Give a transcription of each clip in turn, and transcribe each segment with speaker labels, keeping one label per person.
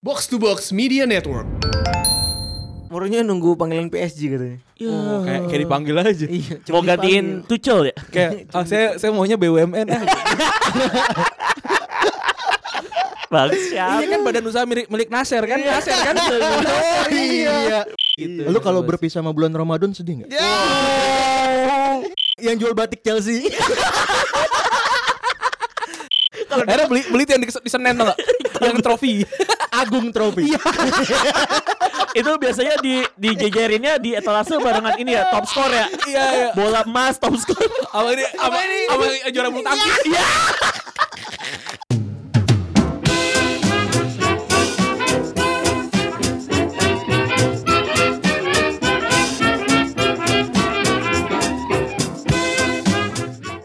Speaker 1: Box to Box Media Network.
Speaker 2: Mourinho nunggu panggilan PSG katanya. Ya.
Speaker 3: Oh, kayak, kayak dipanggil aja.
Speaker 2: Iya, cuma
Speaker 4: Mau gantiin
Speaker 2: dipanggil.
Speaker 4: Tuchel ya?
Speaker 3: Kayak ah, saya saya maunya BUMN aja.
Speaker 4: Bang
Speaker 3: Iya
Speaker 4: siapa? Iya. Gitu.
Speaker 3: kan badan usaha milik, milik Nasir kan? Nasir kan.
Speaker 5: Oh iya.
Speaker 3: Gitu. Ya.
Speaker 5: Lu kalau berpisah sama bulan Ramadan sedih nggak?
Speaker 2: Yang jual batik Chelsea.
Speaker 3: Akhirnya beli beli tuh yang di, di Senen tau nggak? yang trofi.
Speaker 5: Agung Trophy.
Speaker 3: Iya.
Speaker 4: Itu biasanya di dijejerinnya di etalase barengan ini ya, top score ya.
Speaker 3: Iya iya.
Speaker 4: Bola emas top score.
Speaker 3: Apa ini? Apa ini? Apa juara bulu tangkis? Iya.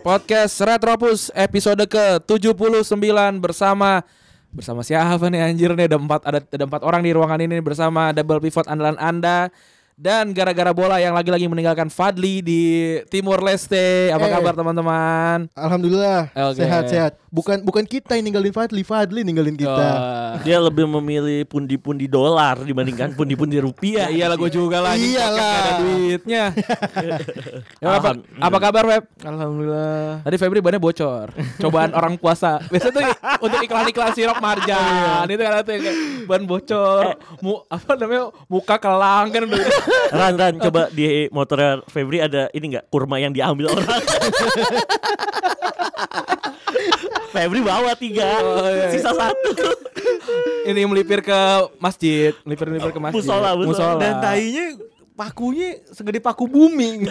Speaker 3: Podcast Retropus episode ke-79 bersama bersama siapa nih anjir nih ada empat ada ada empat orang di ruangan ini bersama double pivot andalan Anda dan gara-gara bola yang lagi-lagi meninggalkan Fadli di Timur Leste. Apa
Speaker 5: Eh.
Speaker 3: kabar teman-teman?
Speaker 5: Alhamdulillah
Speaker 3: Oke.
Speaker 5: sehat sehat. Bukan bukan kita yang ninggalin Fadli, Fadli ninggalin kita.
Speaker 3: Oh.
Speaker 4: Dia lebih memilih pundi-pundi dolar dibandingkan
Speaker 3: Ya
Speaker 4: pundi-pundi
Speaker 2: Iya,
Speaker 4: rupiah.
Speaker 3: iyalah gue juga lah anjing,
Speaker 5: Iyalah.
Speaker 3: podcast gak ada duitnya Ya, apa,
Speaker 4: Alham-
Speaker 3: apa kabar Feb?
Speaker 2: Alhamdulillah.
Speaker 3: Tadi Febri bannya bocor Cobaan orang puasa Biasanya tuh untuk iklan-iklan sirup
Speaker 2: Oh, iya.
Speaker 3: marjan Itu kan ada tuh yang kayak Ban
Speaker 2: Eh.
Speaker 3: bocor mu, Apa namanya Muka kelang kan udah
Speaker 4: Ran, Ran, coba di motor Febri ada ini nggak kurma yang diambil orang. Febri bawa tiga,
Speaker 3: Oh, iya, iya.
Speaker 4: sisa satu.
Speaker 3: Ini melipir ke masjid Melipir-melipir ke masjid
Speaker 4: Musola, musola.
Speaker 2: Dan tainya pakunya segede paku bumi.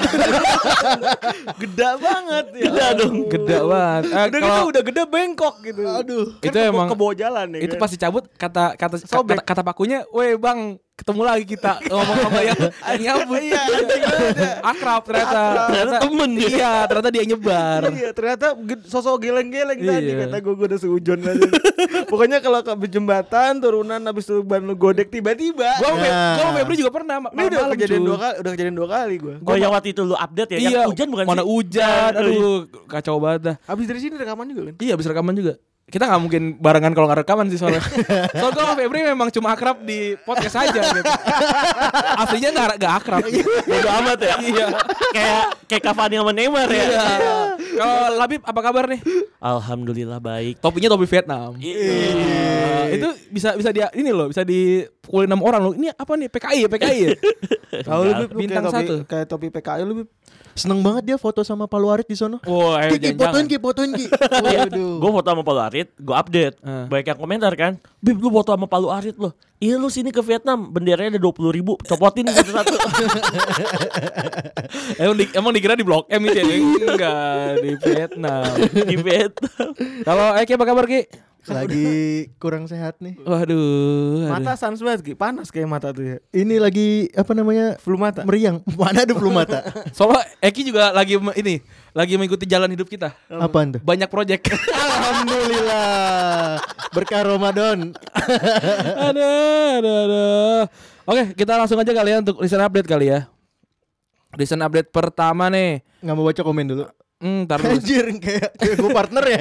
Speaker 2: gede banget ya.
Speaker 4: Gede dong.
Speaker 3: Gede banget Eh,
Speaker 2: Udah gitu
Speaker 3: kalau-
Speaker 2: udah gede bengkok gitu.
Speaker 5: Aduh.
Speaker 2: Kan
Speaker 3: Itu
Speaker 2: kebo-
Speaker 3: emang-
Speaker 2: kebo jalan ya.
Speaker 3: itu
Speaker 2: kan?
Speaker 3: pasti cabut kata kata
Speaker 2: Sobek.
Speaker 3: kata, kata pakunya, "Weh, Bang, ketemu lagi kita." Ngomong sama yang
Speaker 2: Iya,
Speaker 3: yang nyabut. Akrab ternyata.
Speaker 4: Ternyata temen ya.
Speaker 3: Iya, ternyata dia nyebar.
Speaker 2: Iya ternyata ge- sosok geleng-geleng tadi
Speaker 3: Iya.
Speaker 2: kata gue gue udah seujon aja. Pokoknya kalau ke jembatan turunan habis itu ban lu godek tiba-tiba.
Speaker 3: Gua sama Fe-
Speaker 5: Nah.
Speaker 3: gua sama
Speaker 4: Iya.
Speaker 3: Febri juga pernah ma-
Speaker 2: ini udah
Speaker 3: malam-malam,
Speaker 2: kejadian
Speaker 3: cuy.
Speaker 2: dua kali, udah kejadian dua kali gue.
Speaker 4: Oh yang waktu itu lu update ya?
Speaker 3: Iya,
Speaker 4: yang hujan bukan
Speaker 3: mana
Speaker 4: sih?
Speaker 3: hujan,
Speaker 4: Iya.
Speaker 3: aduh kacau banget dah.
Speaker 2: Habis dari sini rekaman juga kan?
Speaker 3: Iya, habis rekaman juga. Kita nggak mungkin barengan kalau nggak rekaman sih soalnya. Soalnya gua sama Febri memang cuma akrab di podcast aja gitu. Aslinya nggak nggak akrab.
Speaker 4: Bodo amat ya?
Speaker 3: Iya.
Speaker 4: kayak kayak Cavani sama Neymar ya?
Speaker 3: Iya. Kalau Labib apa kabar nih?
Speaker 4: Alhamdulillah baik. Gitu.
Speaker 3: Topinya topi Vietnam. Nah, itu bisa bisa dia ini loh, bisa dipukulin enam orang loh. Ini apa nih? PKI ya, PKI ya?
Speaker 2: Tahu lu Bib, lu kayak
Speaker 3: Bintang
Speaker 2: topi-
Speaker 3: satu.
Speaker 2: Kayak topi PKI lu Bib.
Speaker 5: Seneng banget dia foto sama Palu Arit di sono.
Speaker 3: Wah, ayo
Speaker 5: Ki, Ki, fotoin
Speaker 3: jangan.
Speaker 5: Ki, fotoin Ki.
Speaker 4: Gue
Speaker 5: Waduh.
Speaker 4: Iya. foto sama Palu Arit, gue update.
Speaker 3: Eh.
Speaker 4: Banyak yang komentar kan, Bib lu foto sama Palu Arit loh. Iya lu sini ke Vietnam, benderanya ada 20 ribu, copotin satu-satu.
Speaker 3: Emang, di- emang dikira di Blok M itu ya? Enggak, di Vietnam.
Speaker 4: di Vietnam.
Speaker 3: Kalau Eki apa kabar Ki?
Speaker 5: Lagi kurang sehat nih.
Speaker 3: Waduh. aduh.
Speaker 2: Mata sans banget Ki, panas kayak mata tuh ya.
Speaker 5: Ini lagi apa namanya?
Speaker 2: Flu mata.
Speaker 5: Meriang. Mana ada flu mata?
Speaker 3: Soalnya Eki juga lagi me- ini, lagi mengikuti jalan hidup kita.
Speaker 5: Apaan tuh?
Speaker 3: Banyak project.
Speaker 5: Alhamdulillah. Berkah Ramadan.
Speaker 3: aduh, aduh, aduh. Oke, kita langsung aja kali ya untuk listen update kali ya. Listen update pertama nih.
Speaker 5: Nggak mau baca komen dulu.
Speaker 3: Hmm, ntar dulu.
Speaker 5: Anjir kayak gue partner ya.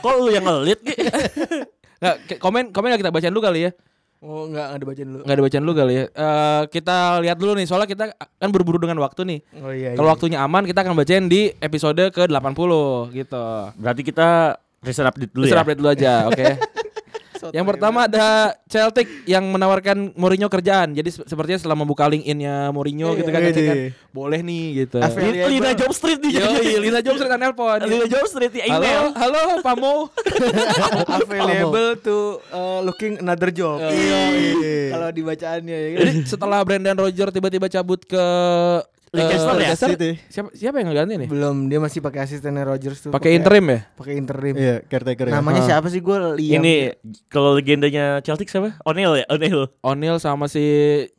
Speaker 4: Kok lu yang ngelit? Ki?
Speaker 3: Nggak, ke- komen komen nggak kita bacain dulu kali ya.
Speaker 2: Oh enggak ada bacaan dulu.
Speaker 3: nggak ada bacaan lu kali ya. Eh, kita lihat dulu nih soalnya kita kan berburu dengan waktu nih.
Speaker 2: Oh iya.
Speaker 3: Kalau waktunya aman kita akan bacain di episode ke-80 gitu.
Speaker 4: Berarti kita reset update dulu
Speaker 3: Terus
Speaker 4: ya.
Speaker 3: update dulu aja, oke. yang pertama ada Celtic yang menawarkan Mourinho kerjaan. Jadi se- sepertinya setelah membuka LinkedIn-nya Mourinho gitu kan,
Speaker 5: Iya,
Speaker 3: ngecek kan,
Speaker 5: iya.
Speaker 3: boleh nih gitu.
Speaker 2: Affair.
Speaker 4: Li- Lina Job Street di
Speaker 3: Yo, Lina Jobs dan nelpon.
Speaker 4: Lina Job Street di
Speaker 3: Halo,
Speaker 4: email.
Speaker 3: halo Pak Mo.
Speaker 2: available to uh, looking another job.
Speaker 5: iya.
Speaker 2: Kalau dibacaannya ya. kan?
Speaker 3: Jadi setelah Brendan Rodgers tiba-tiba cabut ke
Speaker 4: Leicester
Speaker 3: eh,
Speaker 4: ya?
Speaker 3: Leicester,
Speaker 5: City.
Speaker 3: Siapa siapa yang ngeganti nih?
Speaker 2: Belum, dia masih pakai asistennya Rogers tuh.
Speaker 3: Pakai interim ya?
Speaker 2: Pakai interim.
Speaker 5: Iya, caretaker ya.
Speaker 2: Namanya
Speaker 3: Ah.
Speaker 2: siapa sih gue lihat
Speaker 4: Ini kalau legendanya Celtic siapa? O'Neill ya, O'Neill.
Speaker 3: O'Neal sama si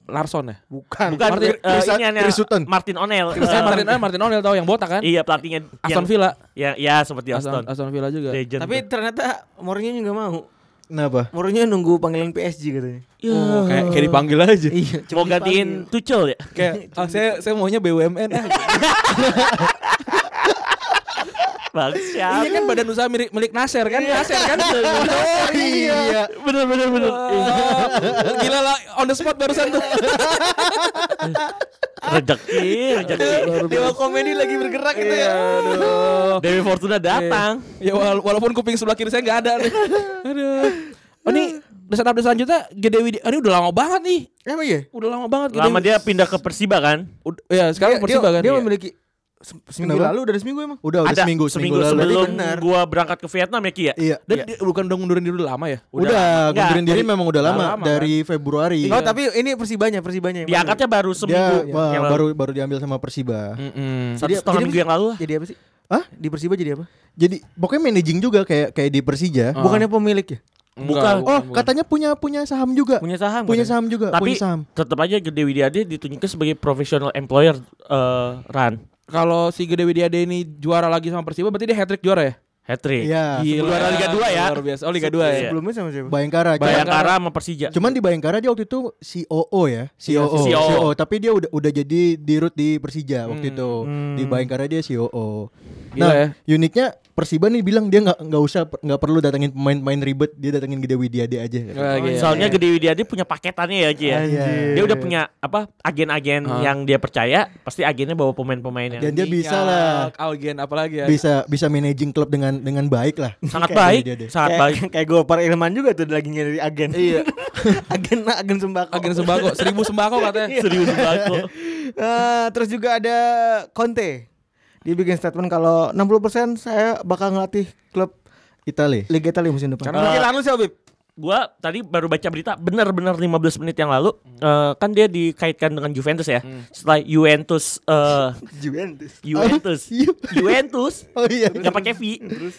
Speaker 3: Larson ya?
Speaker 2: bukan.
Speaker 4: Bukan
Speaker 3: Martin-
Speaker 4: eh,
Speaker 5: Chris-
Speaker 4: ini aneh,
Speaker 5: Chris Sutton.
Speaker 4: Martin O'Neill.
Speaker 3: Saya
Speaker 4: Eh,
Speaker 3: Martin ah, Martin O'Neal tahu yang botak kan?
Speaker 4: Iya pelatihnya yang-
Speaker 3: Aston Villa.
Speaker 4: Ya, ya seperti
Speaker 3: Aston,
Speaker 4: Aston.
Speaker 3: Aston Villa juga.
Speaker 4: Legend.
Speaker 2: Tapi ternyata Mourinho juga mau.
Speaker 5: Kenapa?
Speaker 2: Mourinho nunggu panggilan PSG katanya.
Speaker 3: Oh, kayak kayak dipanggil aja.
Speaker 2: Iya,
Speaker 4: mau gantiin Tuchel ya?
Speaker 3: ah." Kayak ah, saya saya maunya BUMN aja.
Speaker 4: Bang
Speaker 3: Iya
Speaker 4: siap.
Speaker 3: kan badan usaha milik, milik Nasir kan? Nasir kan? Oh,
Speaker 5: Iya.
Speaker 4: Bener bener bener.
Speaker 3: Gila lah on the spot barusan tuh.
Speaker 4: Rezeki, rezeki.
Speaker 3: Iya.
Speaker 2: Dewa komedi lagi bergerak gitu ya.
Speaker 3: Aduh.
Speaker 4: Dewi Fortuna datang.
Speaker 3: Ya wala- walaupun kuping sebelah kiri saya nggak ada nih. Aduh. Oh ini desain update selanjutnya Gede Widi. Ah, ini udah lama banget nih.
Speaker 5: Emang iya?
Speaker 3: Udah lama banget Gede
Speaker 4: Lama
Speaker 3: Widi-
Speaker 4: dia pindah ke Persiba kan?
Speaker 3: Ud- ya sekarang
Speaker 2: Dia-
Speaker 3: Persiba
Speaker 2: dia,
Speaker 3: kan.
Speaker 2: Dia
Speaker 3: Iya.
Speaker 2: memiliki se- seminggu
Speaker 5: Kenapa?
Speaker 2: lalu dari seminggu emang.
Speaker 5: Udah, udah
Speaker 4: Ada
Speaker 5: seminggu,
Speaker 4: seminggu,
Speaker 5: lalu.
Speaker 4: sebelum
Speaker 2: Berarti bener.
Speaker 4: gua berangkat ke Vietnam ya Ki ya?
Speaker 5: Iya.
Speaker 3: Dan dia bukan udah ngundurin diri udah lama ya.
Speaker 5: Udah,
Speaker 4: Enggak,
Speaker 5: ngundurin diri memang udah lama,
Speaker 3: lama,
Speaker 5: dari Februari.
Speaker 3: Iya.
Speaker 2: Oh tapi ini persibanya persibanya. yang mana?
Speaker 4: Diangkatnya baru
Speaker 5: Dia
Speaker 4: seminggu yang lalu.
Speaker 5: wah, Iya, baru baru diambil sama Persiba.
Speaker 3: Mm-mm.
Speaker 4: Satu setengah minggu yang lalu lah.
Speaker 2: Jadi apa sih?
Speaker 5: Hah?
Speaker 2: Di Persiba jadi apa?
Speaker 5: Jadi pokoknya managing juga kayak kayak di Persija.
Speaker 3: Ah.
Speaker 2: Bukannya pemilik ya?
Speaker 4: Bukan.
Speaker 3: Enggak,
Speaker 5: Oh,
Speaker 3: bukan.
Speaker 5: katanya punya punya saham juga.
Speaker 2: Punya saham. katanya.
Speaker 5: Punya saham juga,
Speaker 4: Tapi
Speaker 5: punya saham.
Speaker 4: tetap aja Gede Widiade ditunjukkan sebagai professional employer eh, Ran.
Speaker 3: kalau si Gede Widiade ini juara lagi sama Persiba berarti dia hat trick juara ya?
Speaker 4: Hat trick.
Speaker 5: Iya.
Speaker 3: Gila.
Speaker 4: juara Liga 2 ya.
Speaker 3: Luar biasa. Oh Liga 2 ya.
Speaker 4: Iya.
Speaker 2: Sebelumnya sama siapa?
Speaker 5: Bayangkara. Cuman-
Speaker 4: Bayangkara sama Persija.
Speaker 5: Cuman di Bayangkara dia waktu itu COO ya, COO.
Speaker 4: COO.
Speaker 5: tapi dia udah udah jadi dirut di Persija waktu itu. Di Bayangkara dia COO.
Speaker 3: Gila
Speaker 5: nah,
Speaker 3: ya.
Speaker 5: uniknya Persiba nih bilang dia nggak nggak usah nggak perlu datengin pemain-pemain ribet, dia datengin Gede Widiade aja.
Speaker 3: Wah, gila.
Speaker 4: Soalnya Gede Widiadi punya paketannya ya Ki ya.
Speaker 5: Anjir.
Speaker 4: Dia udah punya apa agen-agen yang dia percaya, pasti agennya bawa pemain-pemain yang
Speaker 5: Dan dia bisa
Speaker 3: Iya.
Speaker 5: lah.
Speaker 3: Algen apalagi ya.
Speaker 5: Bisa bisa managing klub dengan dengan baik lah.
Speaker 4: sangat
Speaker 5: Kayak
Speaker 4: baik,
Speaker 5: Gede Widiade.
Speaker 4: sangat
Speaker 2: Kayak-
Speaker 4: baik.
Speaker 2: Kayak Gopar Ilman juga tuh lagi nyari agen. Iya. agen agen sembako.
Speaker 3: Agen sembako, seribu sembako katanya.
Speaker 4: Serius banget.
Speaker 2: Eh, terus juga ada Conte. Dia bikin statement kalau 60% saya bakal ngelatih klub
Speaker 5: Itali.
Speaker 2: Liga Italia musim depan. Ah.
Speaker 3: Karena pikiran lu siapa, Bib?
Speaker 4: Gua tadi baru baca berita benar-benar 15 menit yang lalu eh, kan dia dikaitkan dengan Juventus ya. Setelah Juventus eh,
Speaker 2: Juventus. Oh,
Speaker 4: Juventus
Speaker 2: iya.
Speaker 5: Ju-
Speaker 4: Juventus
Speaker 5: Oh iya.
Speaker 4: nggak pakai V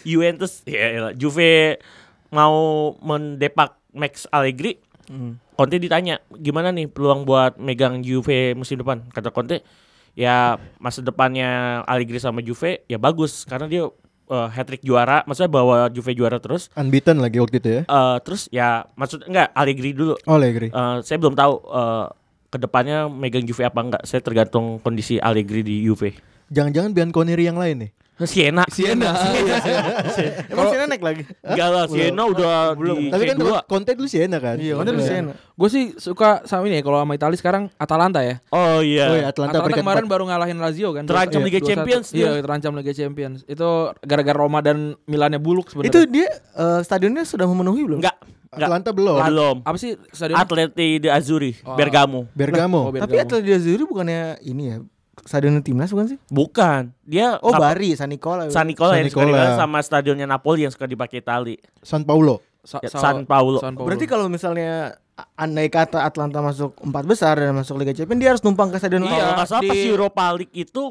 Speaker 4: Juventus ya elah, Juve mau mendepak Max Allegri
Speaker 5: Hmm.
Speaker 4: Conte ditanya gimana nih peluang buat megang Juve musim depan kata Conte ya masa depannya Allegri sama Juve ya bagus karena dia hat trick juara maksudnya bawa Juve juara terus
Speaker 5: Unbeaten lagi waktu itu ya.
Speaker 4: Eh, terus ya maksud enggak Allegri dulu
Speaker 5: Oh, Allegri.
Speaker 4: Eh, saya belum tahu eh, kedepannya megang Juve apa enggak saya tergantung kondisi Allegri di Juve
Speaker 5: Jangan-jangan Bianconeri yang lain nih.
Speaker 3: Iya,
Speaker 4: Siena
Speaker 3: Siena.
Speaker 2: Emang Siena naik lagi?
Speaker 4: Enggak lah, Siena udah di
Speaker 5: Tapi kan
Speaker 4: K2.
Speaker 5: konten dulu Siena kan.
Speaker 2: Iya, Conte dulu Siena.
Speaker 3: Gue sih suka sama ini ya kalau sama Italia sekarang Atalanta ya.
Speaker 4: Oh iya.
Speaker 5: Oh iya, Atlanta, peringkat
Speaker 3: kemarin
Speaker 5: empat.
Speaker 3: baru ngalahin Lazio kan.
Speaker 4: Terancam
Speaker 3: Dua-
Speaker 4: Liga
Speaker 3: dua-
Speaker 4: Champions
Speaker 3: satu. Iya,
Speaker 4: dia.
Speaker 3: terancam Liga Champions. Itu gara-gara Roma dan Milannya buluk sebenarnya.
Speaker 2: Itu dia eh, stadionnya sudah memenuhi belum?
Speaker 4: Enggak, enggak.
Speaker 5: Atlanta belum.
Speaker 4: Atlanta. belum.
Speaker 3: apa sih stadion?
Speaker 4: Atleti de Azzurri,
Speaker 5: Ah.
Speaker 4: Bergamo.
Speaker 3: Oh,
Speaker 5: Bergamo.
Speaker 3: biar
Speaker 2: Tapi
Speaker 3: kamu.
Speaker 2: Atletico Zuri bukannya ini ya stadionnya timnas bukan sih?
Speaker 4: Bukan. Dia
Speaker 2: Oh
Speaker 4: apa-
Speaker 2: Bari, San Nicola.
Speaker 4: San Nicola,
Speaker 5: San
Speaker 4: yang suka
Speaker 5: Nicola.
Speaker 4: dikenal sama stadionnya Napoli yang suka dipakai tali.
Speaker 5: San Paulo.
Speaker 3: Sa-
Speaker 4: Ya,
Speaker 3: Sa-
Speaker 4: San Paolo.
Speaker 3: San Paolo.
Speaker 2: Berarti kalau misalnya a- andai kata Atlanta masuk empat besar dan masuk Liga Champions dia harus numpang ke stadion
Speaker 4: Kalau
Speaker 3: Iya,
Speaker 4: nggak salah
Speaker 3: di-
Speaker 4: pas Europa League itu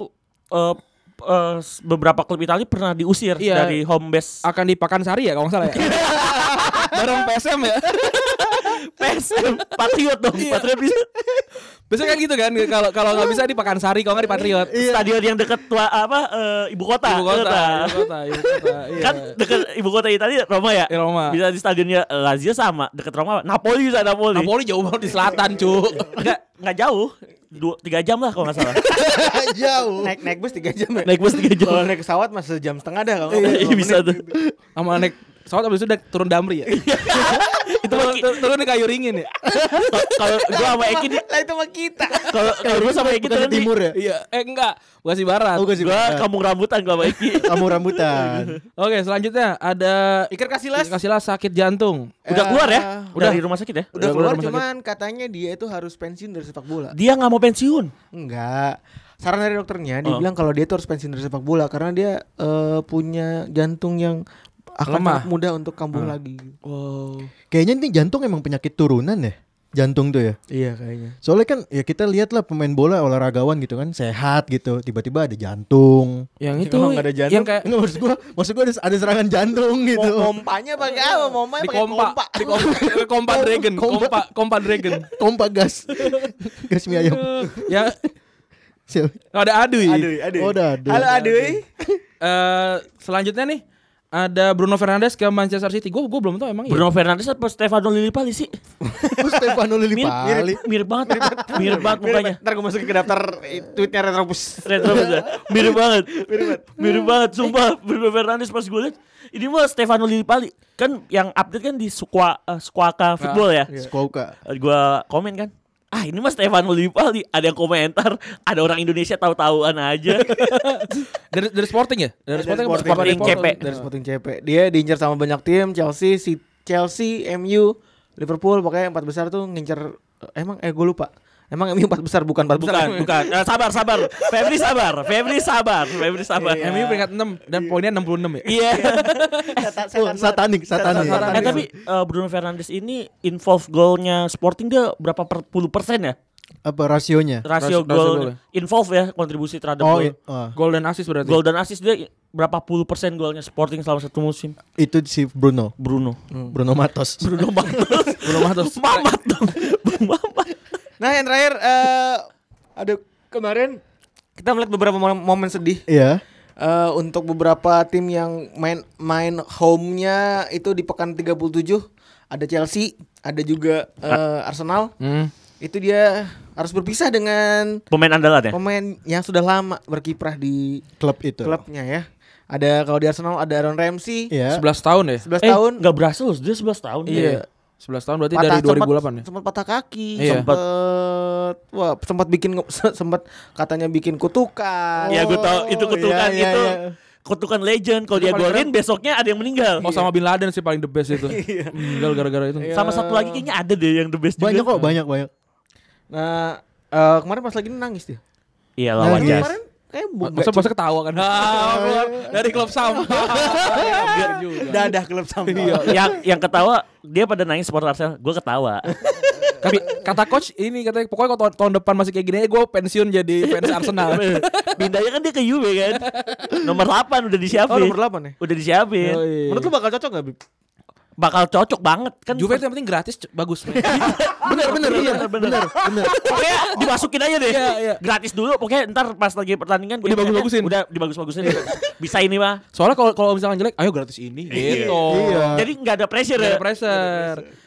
Speaker 4: eh, eh, beberapa klub Italia pernah diusir
Speaker 3: Iya.
Speaker 4: dari home base.
Speaker 3: akan di Pakansari ya kalau nggak salah ya. Bareng PSM ya.
Speaker 4: PSM Patriot dong, Patriot bisa.
Speaker 3: Biasanya kan gitu kan kalau kalau nggak bisa di Pakansari kalau nggak di Patriot.
Speaker 2: Iya.
Speaker 4: Stadion yang dekat tua- apa eh, ibu kota.
Speaker 3: Ibu kota,
Speaker 4: Kota.
Speaker 3: ibu kota, ibu kota. Iya.
Speaker 4: Kan dekat ibu kota Italia Roma ya?
Speaker 3: Iya, Roma.
Speaker 4: Bisa di stadionnya Lazio sama, dekat Roma Napoli bisa Napoli.
Speaker 3: Napoli Nah, jauh banget di selatan, Cuk.
Speaker 4: Enggak, enggak jauh. Dua, tiga jam lah kalau nggak salah.
Speaker 5: Jauh.
Speaker 2: naik naik bus 3 jam ya.
Speaker 4: Naik bus tiga jam.
Speaker 2: Kalau naik pesawat mah sejam setengah dah kalau. nggak
Speaker 4: Iya
Speaker 2: salah.
Speaker 4: bisa tuh.
Speaker 3: Sama naik pesawat abis itu naik turun Damri ya. itu
Speaker 4: mah ki-
Speaker 3: turun, turun di kayu ringin ya.
Speaker 4: Kalau gua sama Eki di-
Speaker 2: Lah itu mah kita.
Speaker 4: kalau kalau gua sama Eki
Speaker 5: Bukan
Speaker 4: tuh
Speaker 5: di timur ya.
Speaker 3: Iya, eh enggak, gua sih barat.
Speaker 5: Oh,
Speaker 3: Oke,
Speaker 5: gak sih.
Speaker 4: Gua
Speaker 5: Barat.
Speaker 4: kamu rambutan gua sama Eki.
Speaker 5: Kamu rambutan.
Speaker 3: selanjutnya ada
Speaker 2: Iker Casillas.
Speaker 3: Iker Casillas sakit jantung.
Speaker 4: Udah
Speaker 2: Eh,
Speaker 4: keluar ya?
Speaker 3: udah.
Speaker 4: Udah dari rumah sakit ya?
Speaker 2: Udah
Speaker 3: Udah
Speaker 2: keluar
Speaker 3: keluar rumah
Speaker 2: cuman katanya dia itu harus pensiun dari sepak bola.
Speaker 4: Dia nggak mau pensiun.
Speaker 2: Enggak. Saran dari dokternya dia bilang kalau dia tuh harus pensiun dari sepak bola karena dia eh, punya jantung yang akan
Speaker 3: Lemah.
Speaker 2: sangat mudah untuk kambuh lagi.
Speaker 4: Wow.
Speaker 5: Kayaknya ini jantung emang penyakit turunan ya. Jantung tuh ya.
Speaker 2: Iya kayaknya.
Speaker 5: Soalnya kan ya kita lihat lah pemain bola olahragawan gitu kan sehat gitu. Tiba-tiba ada jantung.
Speaker 3: Yang itu
Speaker 2: Kalau nggak ada jantung,
Speaker 3: yang kayak
Speaker 5: Enggak maksud gua, maksud gua ada, ada serangan jantung gitu.
Speaker 2: Pompanya pakai apa? Pompanya
Speaker 3: di
Speaker 2: pakai
Speaker 3: kompa,
Speaker 2: pompa.
Speaker 3: di kompa, kompa dragon,
Speaker 5: Kompa.
Speaker 3: kompa, kompa dragon.
Speaker 5: Kompak gas. gas
Speaker 2: Iya.
Speaker 5: mie ayam.
Speaker 3: ya
Speaker 5: Siap.
Speaker 3: ada adu ya.
Speaker 2: Aduh, aduh.
Speaker 5: Oh, udah, aduh.
Speaker 2: Halo, aduh.
Speaker 3: Eh, selanjutnya nih ada Bruno Fernandes ke Manchester City. Gue gue belum tahu emang iya.
Speaker 4: Bruno Fernandes apa Stefano Lillipali sih?
Speaker 5: Terus Stefano
Speaker 4: Mirip,
Speaker 5: Lillipali.
Speaker 4: mirip, mirip banget, mirip banget mukanya.
Speaker 2: Ntar gue masukin ke daftar eh, tweetnya Retropus.
Speaker 4: Retro bener. mirip banget. Mirip banget. Mirip banget sumpah Bruno Fernandes pas gue liat ini mah Stefano Lillipali. Kan yang update kan di Squawka Football ya.
Speaker 5: Skouka.
Speaker 4: Gue komen kan. Ah ini mas Stefano Lillipali Ada yang komentar Ada orang Indonesia tahu-tahuan aja
Speaker 3: Dari dari Sporting ya? Dari Sporting, apa?
Speaker 4: Sporting CP.
Speaker 2: Dari Sporting CP. Dia diincar sama banyak tim, Chelsea, si Chelsea, MU, Liverpool, pokoknya empat besar tuh ngincer emang eh gue lupa. Emang MU empat besar bukan empat besar.
Speaker 4: Bukan, bukan. Eh, sabar, sabar. Febri sabar. Febri sabar. Febri sabar.
Speaker 3: MU peringkat 6 dan poinnya 66 ya.
Speaker 4: Iya.
Speaker 5: Oh, satanik, satanik.
Speaker 4: Eh tapi eh, Bruno Fernandes ini involve golnya Sporting dia berapa per, puluh persen ya?
Speaker 5: Apa rasionya?
Speaker 4: Rasio
Speaker 3: Rasio- rasio
Speaker 4: gol
Speaker 3: golnya.
Speaker 4: involve ya kontribusi terhadap gol.
Speaker 5: Oh, i- oh.
Speaker 3: Gol dan assist berarti.
Speaker 4: Gol dan assist dia berapa puluh persen golnya Sporting selama satu musim?
Speaker 5: itu si Bruno,
Speaker 4: Bruno.
Speaker 5: Bruno Matos.
Speaker 4: Bruno Matos. Bruno Matos. Mamat dong. Bung Mamat.
Speaker 2: Nah yang terakhir eh ada kemarin kita melihat beberapa mom- momen sedih
Speaker 5: Iya.
Speaker 2: eh untuk beberapa tim yang main main home-nya itu di pekan 37 ada Chelsea, ada juga eh, Arsenal.
Speaker 3: Hmm.
Speaker 2: Itu dia harus berpisah dengan
Speaker 4: Pemain andalan ya?
Speaker 2: pemain yang sudah lama berkiprah di
Speaker 5: Klub itu.
Speaker 2: klubnya ya. Ada kalau di Arsenal ada Aaron Ramsey
Speaker 5: Iya.
Speaker 3: 11 tahun ya?
Speaker 2: 11
Speaker 4: Eh,
Speaker 2: tahun.
Speaker 4: nggak berhasil loh, dia 11 tahun.
Speaker 3: Iya. 11 tahun berarti dari
Speaker 2: sempat-
Speaker 3: 2008 ya.
Speaker 2: Sempat patah kaki,
Speaker 3: Iya.
Speaker 2: sempat wah, sempat bikin sempat katanya bikin kutukan.
Speaker 4: Ya gue tau itu
Speaker 5: Oh,
Speaker 4: kutukan
Speaker 5: iya, iya,
Speaker 4: itu
Speaker 5: iya.
Speaker 4: kutukan legend kalau dia
Speaker 2: Kutukan
Speaker 4: golin besoknya ada yang meninggal.
Speaker 3: Oh sama Bin Laden sih paling the best itu. Meninggal gara-gara itu.
Speaker 4: Sama satu lagi kayaknya ada deh yang the best
Speaker 5: Banyak
Speaker 4: juga.
Speaker 5: kok, banyak banyak.
Speaker 2: Nah, eh, kemarin pas lagi nangis dia.
Speaker 4: Iya lawan
Speaker 5: Iya.
Speaker 4: Jas.
Speaker 2: Nah, Kemarin kayak bu-
Speaker 3: Masa masa ketawa kan? Ah, keluar dari klub sama. Biar Iya juga.
Speaker 2: dadah klub sama.
Speaker 4: yang Iya, yang ketawa dia pada nangis supporter Arsenal, gue ketawa.
Speaker 3: Kata, kata coach ini katanya pokoknya kalau tahun, tahun depan masih kayak gini aja gue pensiun jadi fans Arsenal.
Speaker 4: Pindahnya kan dia ke Juve kan. Nomor 8 udah disiapin.
Speaker 2: Oh, nomor 8 ya?
Speaker 4: Udah disiapin.
Speaker 3: Yoi.
Speaker 2: Menurut lu bakal cocok gak, Bib?
Speaker 4: Bakal cocok banget kan.
Speaker 3: Juve itu yang penting gratis c- bagus. Iya. men.
Speaker 4: bener bener Iya. bener bener.
Speaker 5: Bener.
Speaker 4: Pokoknya dimasukin aja deh.
Speaker 3: Iya, iya.
Speaker 4: Gratis dulu pokoknya ntar pas lagi pertandingan
Speaker 3: Udah bagus-bagusin.
Speaker 4: Udah dibagus-bagusin. Bisa ini mah.
Speaker 3: Soalnya kalau kalau misalkan jelek, ayo gratis ini gitu.
Speaker 5: Iya.
Speaker 4: Jadi nggak ada pressure
Speaker 3: Gak
Speaker 4: ya.
Speaker 3: ada pressure. Kayak-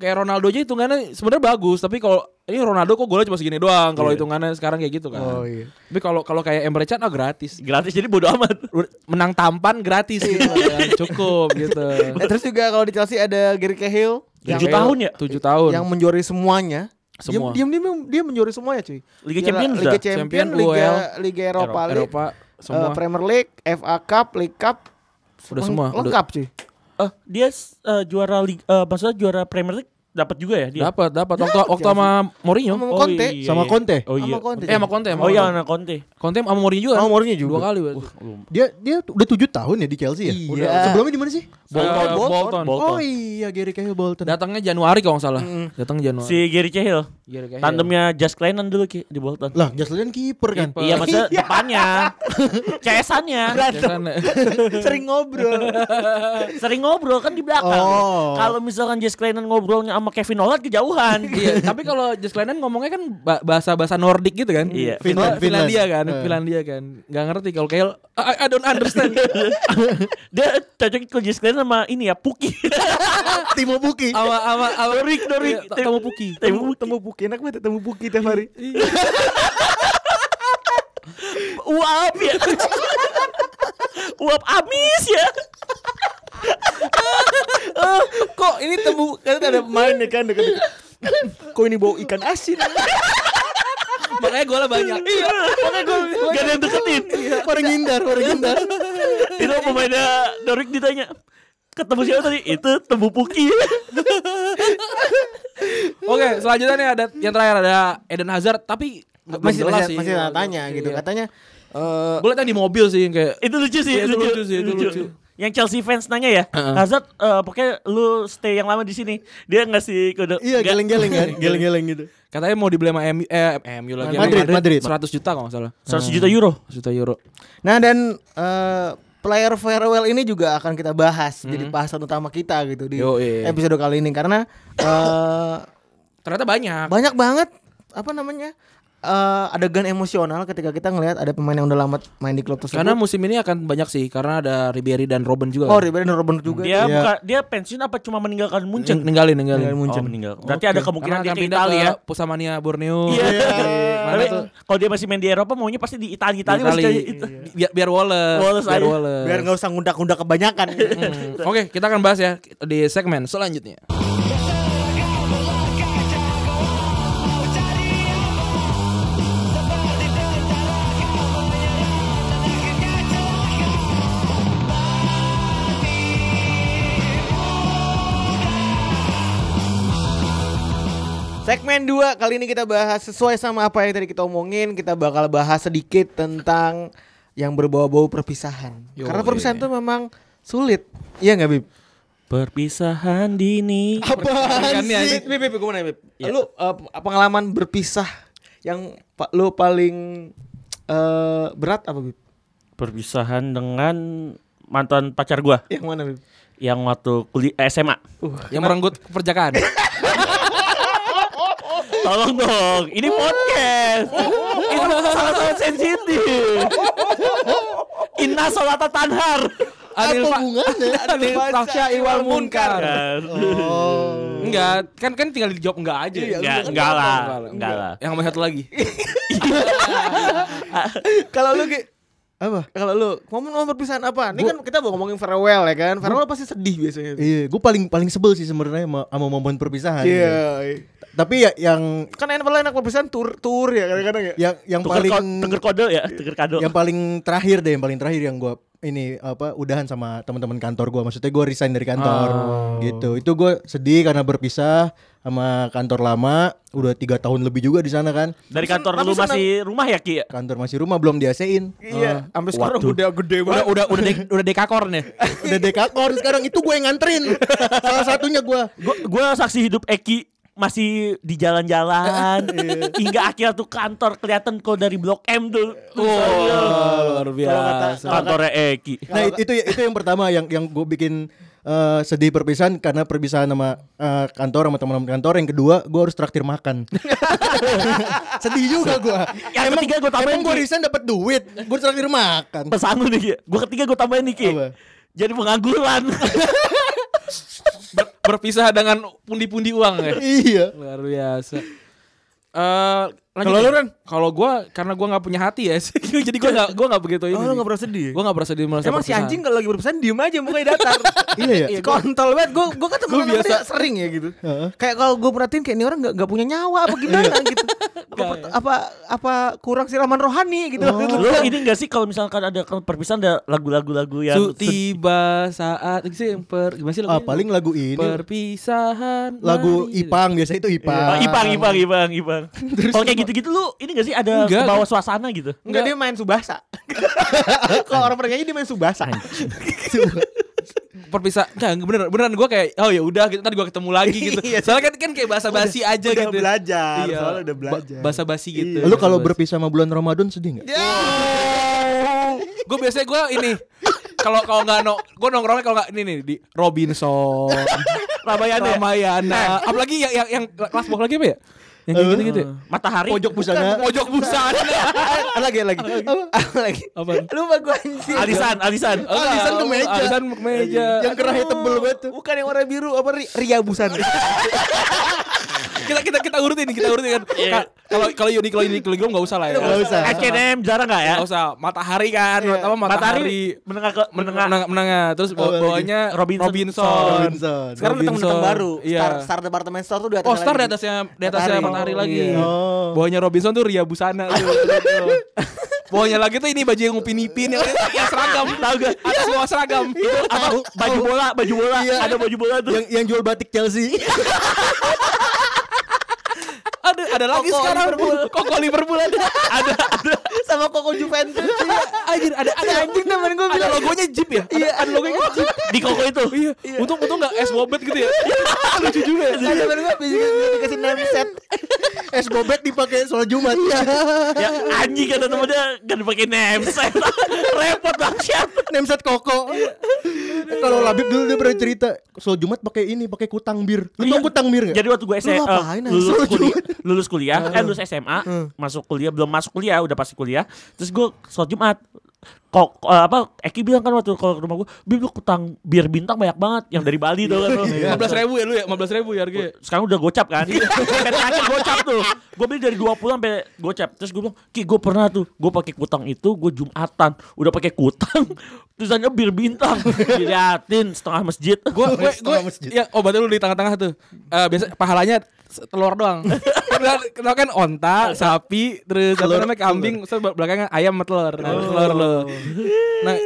Speaker 3: Kayak Ronaldo aja hitungannya sebenarnya bagus, tapi kalau ini Ronaldo kok golnya cuma segini doang kalau hitungannya sekarang kayak gitu kan.
Speaker 5: Oh, iya.
Speaker 3: Tapi kalau kalau kayak Emre Can ah gratis.
Speaker 4: Gratis jadi bodo amat.
Speaker 3: Menang tampan gratis gitu kan. Cukup gitu.
Speaker 2: Nah, terus juga kalau di Chelsea ada Gary Cahill
Speaker 4: Tujuh tahun ya?
Speaker 3: 7 tahun.
Speaker 2: yang menjuari semuanya.
Speaker 3: Semua.
Speaker 2: Dia, dia, dia, dia menjuari semuanya, cuy.
Speaker 4: Liga
Speaker 2: Gila,
Speaker 4: Champions
Speaker 2: Liga
Speaker 4: dah.
Speaker 2: Champion,
Speaker 3: Champion,
Speaker 2: Liga,
Speaker 3: UEL,
Speaker 2: Liga Eropa, League,
Speaker 3: Eropa semua.
Speaker 2: eh, Premier League, FA Cup, League Cup.
Speaker 3: Udah
Speaker 2: Leng-
Speaker 3: semua, udah.
Speaker 2: Lengkap, cuy.
Speaker 4: Eh, dia eh, juara liga eh, maksudnya juara Premier League dapat juga ya dia.
Speaker 3: dapat, dapat waktu waktu sama Mourinho.
Speaker 2: Sama Conte.
Speaker 5: Sama Conte.
Speaker 4: Oh iya.
Speaker 2: Sama Conte.
Speaker 3: Eh sama Conte, sama
Speaker 4: Oh iya
Speaker 3: Conte.
Speaker 4: anak Conte.
Speaker 3: Conte sama Mourinho juga.
Speaker 2: Sama Mourinho juga.
Speaker 3: Dua kali berarti.
Speaker 5: Dia dia udah 7 tahun ya di Chelsea ya?
Speaker 2: Iya.
Speaker 5: Udah. Sebelumnya di mana sih?
Speaker 2: Bolton,
Speaker 3: Eh,
Speaker 2: Bolton.
Speaker 3: Bolton.
Speaker 4: Bolton.
Speaker 5: Oh iya, Gary Cahill Bolton.
Speaker 3: Datangnya Januari kalau nggak salah. Datang Januari. Iya,
Speaker 4: Si Gary Cahill.
Speaker 3: Gary Cahill.
Speaker 4: Tandemnya Just Glennon dulu Ki di Bolton.
Speaker 5: Lah, Jaslin kiper kan.
Speaker 3: Kiper.
Speaker 4: Iya maksudnya depannya CS-annya
Speaker 3: Biasanya.
Speaker 2: Sering ngobrol.
Speaker 4: Sering ngobrol kan di belakang
Speaker 5: Oh.
Speaker 4: Kalau misalkan Jess Clennon ngobrolnya sama Kevin Nolan kejauhan
Speaker 3: Iya, tapi kalau Just Lennon ngomongnya kan ba- bahasa-bahasa Nordik gitu kan.
Speaker 4: Iya.
Speaker 5: Finland,
Speaker 3: Finland, Finlandia
Speaker 5: Finland.
Speaker 3: kan,
Speaker 5: Eh.
Speaker 3: Finlandia kan. Gak ngerti kalau kayak I, I don't understand.
Speaker 4: Dia cocok ke Jess Clennon sama ini ya Puki
Speaker 3: Iya,
Speaker 5: Timo Buki.
Speaker 3: Awa awa awa
Speaker 4: Dorik, Dorik.
Speaker 3: Iya, t- Temu Puki.
Speaker 4: Temu
Speaker 2: temu Puki enak banget temu Puki tiap hari.
Speaker 4: Uap ya Uap amis
Speaker 3: Iya.
Speaker 4: ya
Speaker 2: Kok ini temu kan ada pemain ya kan deket-deket. Kok ini bau ikan asin?
Speaker 3: Makanya golnya banyak. Iya. Makanya gol.
Speaker 4: Gak ada yang
Speaker 3: Iya,
Speaker 4: deketin
Speaker 5: Orang ngindar, orang ngindar.
Speaker 4: Itu pemainnya Dorik ditanya Ketemu siapa tadi? Itu Temu Puki
Speaker 3: Oke, selanjutnya nih ada yang terakhir ada Eden Hazard tapi belum
Speaker 2: masih
Speaker 3: jelas
Speaker 2: masih,
Speaker 3: sih.
Speaker 2: masih tanya, tanya
Speaker 3: Iya.
Speaker 2: gitu katanya eh
Speaker 3: Gue liat yang di mobil sih yang kayak
Speaker 4: Itu lucu sih
Speaker 3: Iya, itu lucu sih, itu lucu.
Speaker 4: Yang Chelsea fans nanya ya, Hazard eh, pokoknya lu stay yang lama di sini. Dia ngasih kode.
Speaker 5: Iya,
Speaker 4: nggak-
Speaker 5: geleng-geleng kan, geleng-geleng gitu.
Speaker 3: katanya mau dibeli sama MU eh MU lagi sama
Speaker 5: Madrid, Madrid.
Speaker 3: 100 juta kalau enggak salah.
Speaker 4: 100 juta euro.
Speaker 3: 100 juta euro.
Speaker 2: nah dan eh player farewell ini juga akan kita bahas jadi bahasan utama kita gitu di
Speaker 3: Yo, iya.
Speaker 2: episode kali ini karena eh
Speaker 3: Ternyata banyak.
Speaker 2: banyak banget apa namanya eh, adegan emosional ketika kita ngelihat ada pemain yang udah lama main di klub tersebut.
Speaker 3: Karena musim ini akan banyak sih karena ada Ribery dan Robben juga.
Speaker 2: oh,
Speaker 3: kan?
Speaker 2: Ribery dan Robben juga.
Speaker 4: Dia
Speaker 5: Iya.
Speaker 4: buka- dia pensiun apa cuma meninggalkan Munchen?
Speaker 3: ninggalin ninggalin.
Speaker 2: Ninggalin Munchen.
Speaker 4: Oh, meninggal. Berarti
Speaker 3: Oke.
Speaker 4: ada kemungkinan
Speaker 3: Karena
Speaker 4: dia
Speaker 3: akan
Speaker 4: ke
Speaker 3: pindah
Speaker 4: Italia.
Speaker 3: ke Pusamania Borneo.
Speaker 4: Iya.
Speaker 3: Mana
Speaker 4: Tapi
Speaker 3: tuh?
Speaker 4: kalau dia masih main di Eropa maunya pasti di Italia Italia Iya.
Speaker 3: Itali.
Speaker 4: masih kayak gitu. itu.
Speaker 3: Biar biar Wallace,
Speaker 4: Wallace
Speaker 3: biar
Speaker 4: aja.
Speaker 3: Wallace.
Speaker 2: Biar nggak usah ngundak-ngundak kebanyakan.
Speaker 3: Hmm. Oke, kita akan bahas ya di segmen selanjutnya.
Speaker 2: Segmen 2 kali ini kita bahas sesuai sama apa yang tadi kita omongin, kita bakal bahas sedikit tentang yang berbau-bau perpisahan.
Speaker 3: Yo,
Speaker 2: Karena perpisahan
Speaker 3: iya.
Speaker 2: itu memang sulit. Iya nggak Bib?
Speaker 4: Perpisahan dini.
Speaker 2: Apaan
Speaker 3: Perpisahannya,
Speaker 2: sih?
Speaker 3: Bib?
Speaker 2: Bib, Bib, gimana Bib? Lu eh, pengalaman berpisah yang pa- lu paling eh, berat apa Bib?
Speaker 4: Perpisahan dengan mantan pacar gua
Speaker 2: Yang mana Bib?
Speaker 4: yang waktu kuliah eh, SMA.
Speaker 3: Yang merenggut perjakaan.
Speaker 4: Tolong dong, ini podcast. ini sangat-sangat sensitif. Inna solata tanhar.
Speaker 3: Adil
Speaker 5: Apa
Speaker 3: Pak.
Speaker 5: hubungannya?
Speaker 3: Adil
Speaker 2: Adil
Speaker 3: Fasya
Speaker 2: Fasya
Speaker 3: Iwal
Speaker 2: Iwal
Speaker 3: Munkar.
Speaker 4: Kan.
Speaker 5: Oh.
Speaker 3: Enggak, kan kan tinggal dijawab enggak aja.
Speaker 2: Iya, kan
Speaker 4: Enggak, enggak lah, enggak lah.
Speaker 3: Yang mau satu lagi.
Speaker 2: Kalau lu Ki,
Speaker 5: Apa?
Speaker 2: kalau lu momen-momen perpisahan apa? Ini kan kita mau ngomongin farewell ya kan? Farewell pasti sedih biasanya.
Speaker 5: Iya, gue paling paling sebel sih sebenarnya sama, sama momen perpisahan. gitu.
Speaker 2: Iya.
Speaker 5: Tapi ya yang
Speaker 2: Kan enak enak perpisahan tur tur ya kadang-kadang ya.
Speaker 5: yang yang
Speaker 4: Tuker,
Speaker 5: paling
Speaker 4: ko- tuker kode ya, tuker kado.
Speaker 5: yang paling terakhir deh, yang paling terakhir yang gue ini apa udahan sama teman-teman kantor gue. Maksudnya gue resign dari kantor
Speaker 2: Oh.
Speaker 5: gitu. Itu gue sedih karena berpisah sama kantor lama. Udah tiga tahun lebih juga di sana kan.
Speaker 2: Tapi
Speaker 4: Dari
Speaker 2: sen-
Speaker 4: kantor
Speaker 2: tapi
Speaker 4: lu
Speaker 2: senang.
Speaker 4: masih rumah ya Ki? ya?
Speaker 5: Kantor masih rumah belum diasein.
Speaker 2: Iya, sampai sekarang udah gede banget.
Speaker 3: Udah udah udah de- udah dekakor nih.
Speaker 5: Oh. Udah dekakor sekarang itu gue yang nganterin. Salah satunya gue.
Speaker 4: Gua, gua saksi hidup Eki masih di jalan-jalan hingga akhirnya tuh kantor kelihatan kok dari blok M tuh.
Speaker 2: Iya.
Speaker 3: Wah, luar biasa.
Speaker 4: Kantornya Eki.
Speaker 5: Nah it- itu itu yang pertama yang yang gue bikin eh, sedih perpisahan karena perpisahan sama eh, kantor sama teman-teman kantor. Yang kedua gue harus traktir makan. sedih juga gue.
Speaker 4: Yang ketiga gua tambahin,
Speaker 5: Emang gue
Speaker 4: Ki.
Speaker 5: resign dapat duit, gue traktir makan.
Speaker 4: Pesan lu nih Ki. Gua ketiga gua tambahin nih Ki.
Speaker 5: Apa?
Speaker 4: Jadi pengangguran.
Speaker 3: Ber- berpisah dengan pundi-pundi uang ya.
Speaker 5: iya.
Speaker 3: Luar biasa. Eh, lanjut
Speaker 2: Kalau
Speaker 3: ya.
Speaker 2: lu, Ren?
Speaker 3: Kalau gua karena gua nggak punya hati ya. Jadi gua nggak gua nggak begitu ini.
Speaker 2: Oh, lu nggak
Speaker 3: sih.
Speaker 2: pernah sedih?
Speaker 3: Gua nggak pernah sedih merasa
Speaker 2: Emang si
Speaker 3: perpisahan.
Speaker 2: anjing kalau lagi berpesan diem aja mukanya datar.
Speaker 5: Iya ya?
Speaker 2: Iya, kontol banget. Gue gue kan temenan
Speaker 3: Gua
Speaker 2: sama dia
Speaker 3: biasa-
Speaker 2: sering ya gitu.
Speaker 5: Heeh.
Speaker 2: Kayak kalau gue perhatiin kayak ini orang gak, gak punya nyawa apa gimana gitu. Apa, per- apa apa kurang siraman rohani gitu.
Speaker 4: lu ini gak sih kalau misalkan ada ke- perpisahan ada lagu-lagu-lagu
Speaker 2: Iya,
Speaker 4: yang
Speaker 3: Su-
Speaker 4: sedih.
Speaker 3: tiba saat Ini sih per gimana sih
Speaker 5: Ah,
Speaker 3: lagunya?
Speaker 5: paling lagu ini
Speaker 3: perpisahan
Speaker 5: lagu
Speaker 3: mari-
Speaker 5: Ipang biasa itu Ipang.
Speaker 4: Oh, Ipang, Ipang, Ipang, Ipang. Kalau kayak gitu-gitu lu ini gak sih ada
Speaker 3: Enggak.
Speaker 4: bawa suasana gitu?
Speaker 2: Enggak dia main subasa. kalau orang pergi dia main subasa.
Speaker 3: perpisah nggak bener beneran gue kayak oh ya udah gitu ntar gue ketemu lagi gitu
Speaker 2: Iya.
Speaker 3: soalnya kan kan kayak bahasa basi aja
Speaker 2: udah
Speaker 3: gitu
Speaker 2: belajar, soalnya udah belajar.
Speaker 3: bahasa basi gitu
Speaker 5: Iya. Lu kalau berpisah sama bulan Ramadan
Speaker 4: Iya.
Speaker 5: sedih nggak?
Speaker 3: gue biasanya gue ini kalau kalau nggak no gue nongkrongnya kalau nggak ini nih di Robinson
Speaker 4: Ramayana. ya?
Speaker 3: Ramayana Nah, apalagi yang yang, yang kelas bawah lagi apa ya yang kayak gitu
Speaker 4: Eh.
Speaker 3: gitu
Speaker 4: Matahari.
Speaker 5: Pojok busana.
Speaker 4: Iya.
Speaker 3: pojok busana
Speaker 2: Ada lagi ada lagi. Apa lagi?
Speaker 3: Apa?
Speaker 2: Lupa gue anjing.
Speaker 4: Alisan, alisan.
Speaker 3: Oh, enggak,
Speaker 5: Alisan ke meja.
Speaker 3: alisan ke meja
Speaker 5: Yang kerahnya tebel banget tuh.
Speaker 2: Bukan yang warna biru apa ri- Ria busana.
Speaker 3: kita kita kita urutin kita urutin kan Ka- kalau kalau Yudi kalau Yudi kalau gue nggak usah lah ya
Speaker 5: Nggak usah.
Speaker 4: H&M jarang gak ya?
Speaker 3: Gak usah matahari kan, apa matahari,
Speaker 4: Matahari menengah ke
Speaker 3: menengah,
Speaker 4: menengah.
Speaker 3: menengah. terus bawa-
Speaker 5: Apalagi?
Speaker 3: bawahnya Robinson.
Speaker 4: Robinson.
Speaker 5: Robinson.
Speaker 2: Sekarang udah teman-teman
Speaker 3: Robinson.
Speaker 2: baru.
Speaker 3: Iya.
Speaker 2: Star, star department store tuh di atasnya
Speaker 3: Oh star di
Speaker 2: lagi.
Speaker 3: atasnya di atasnya matahari,
Speaker 2: Matahari.
Speaker 3: lagi.
Speaker 2: Iya.
Speaker 5: Oh.
Speaker 3: Bawahnya Robinson tuh Ria Busana tuh. Tuh. Bawahnya lagi tuh ini baju yang ngupin-ngupin yang, yang seragam tahu gak? Atas bawah seragam.
Speaker 4: Apa? Baju bola, baju bola.
Speaker 5: Iya.
Speaker 4: Ada baju bola tuh.
Speaker 5: Yang yang jual batik Chelsea.
Speaker 3: Ada ada lagi
Speaker 2: Koko
Speaker 3: sekarang
Speaker 2: Liverpool.
Speaker 3: Koko Liverpool ada. ada ada
Speaker 2: sama Koko Juventus.
Speaker 3: anjir ada ada
Speaker 2: anjing temen gua
Speaker 3: ada
Speaker 2: bilang.
Speaker 3: logonya Jeep ya? Ada, ada logonya Jeep.
Speaker 4: Di koko itu.
Speaker 3: Iya. Untung untung enggak es bobet gitu ya. Lucu juga ya.
Speaker 2: Ada temen gue dikasih name set.
Speaker 5: Es bobet dipakai sholat Jumat.
Speaker 2: Iya.
Speaker 4: ya anjing kata temennya gak dipakai name set. Repot banget.
Speaker 5: Nemset Koko. Kalau Labib dulu dia pernah cerita soal Jumat pakai ini, pakai kutang bir. Lu tau
Speaker 4: Iya.
Speaker 5: kutang bir enggak?
Speaker 4: Jadi waktu gue
Speaker 2: Lu
Speaker 4: SMA
Speaker 2: ngapain, Hans?
Speaker 4: lulus
Speaker 5: Lu
Speaker 4: kuliah, lulus kuliah, eh lulus SMA, masuk kuliah belum masuk kuliah, udah pasti kuliah. Terus gue sholat Jumat. Kok eh, apa Eki bilang kan waktu kalau ke rumah gue, "Bib lu kutang bir bintang banyak banget yang dari Bali tuh kan."
Speaker 3: Lima belas ribu ya lu ya, lima belas ribu ya
Speaker 5: Iya.
Speaker 3: harganya.
Speaker 4: Sekarang udah gocap kan? Sampai terakhir gocap tuh. Gue beli dari 20 sampai gocap. Terus gue bilang, "Ki, gue pernah tuh, gue pakai kutang itu, gue Jumatan, udah pakai kutang, tulisannya bir bintang." Diliatin setengah masjid.
Speaker 3: Gue gue gue
Speaker 5: Setengah masjid.
Speaker 3: ya obatnya lu di tengah-tengah tuh. Eh biasa pahalanya se- telur doang. Padahal Kenal kan onta, sapi, terus apa namanya kambing, terus belakangnya ayam sama telur. Nah,
Speaker 4: Oh.
Speaker 3: telur lu. Nah,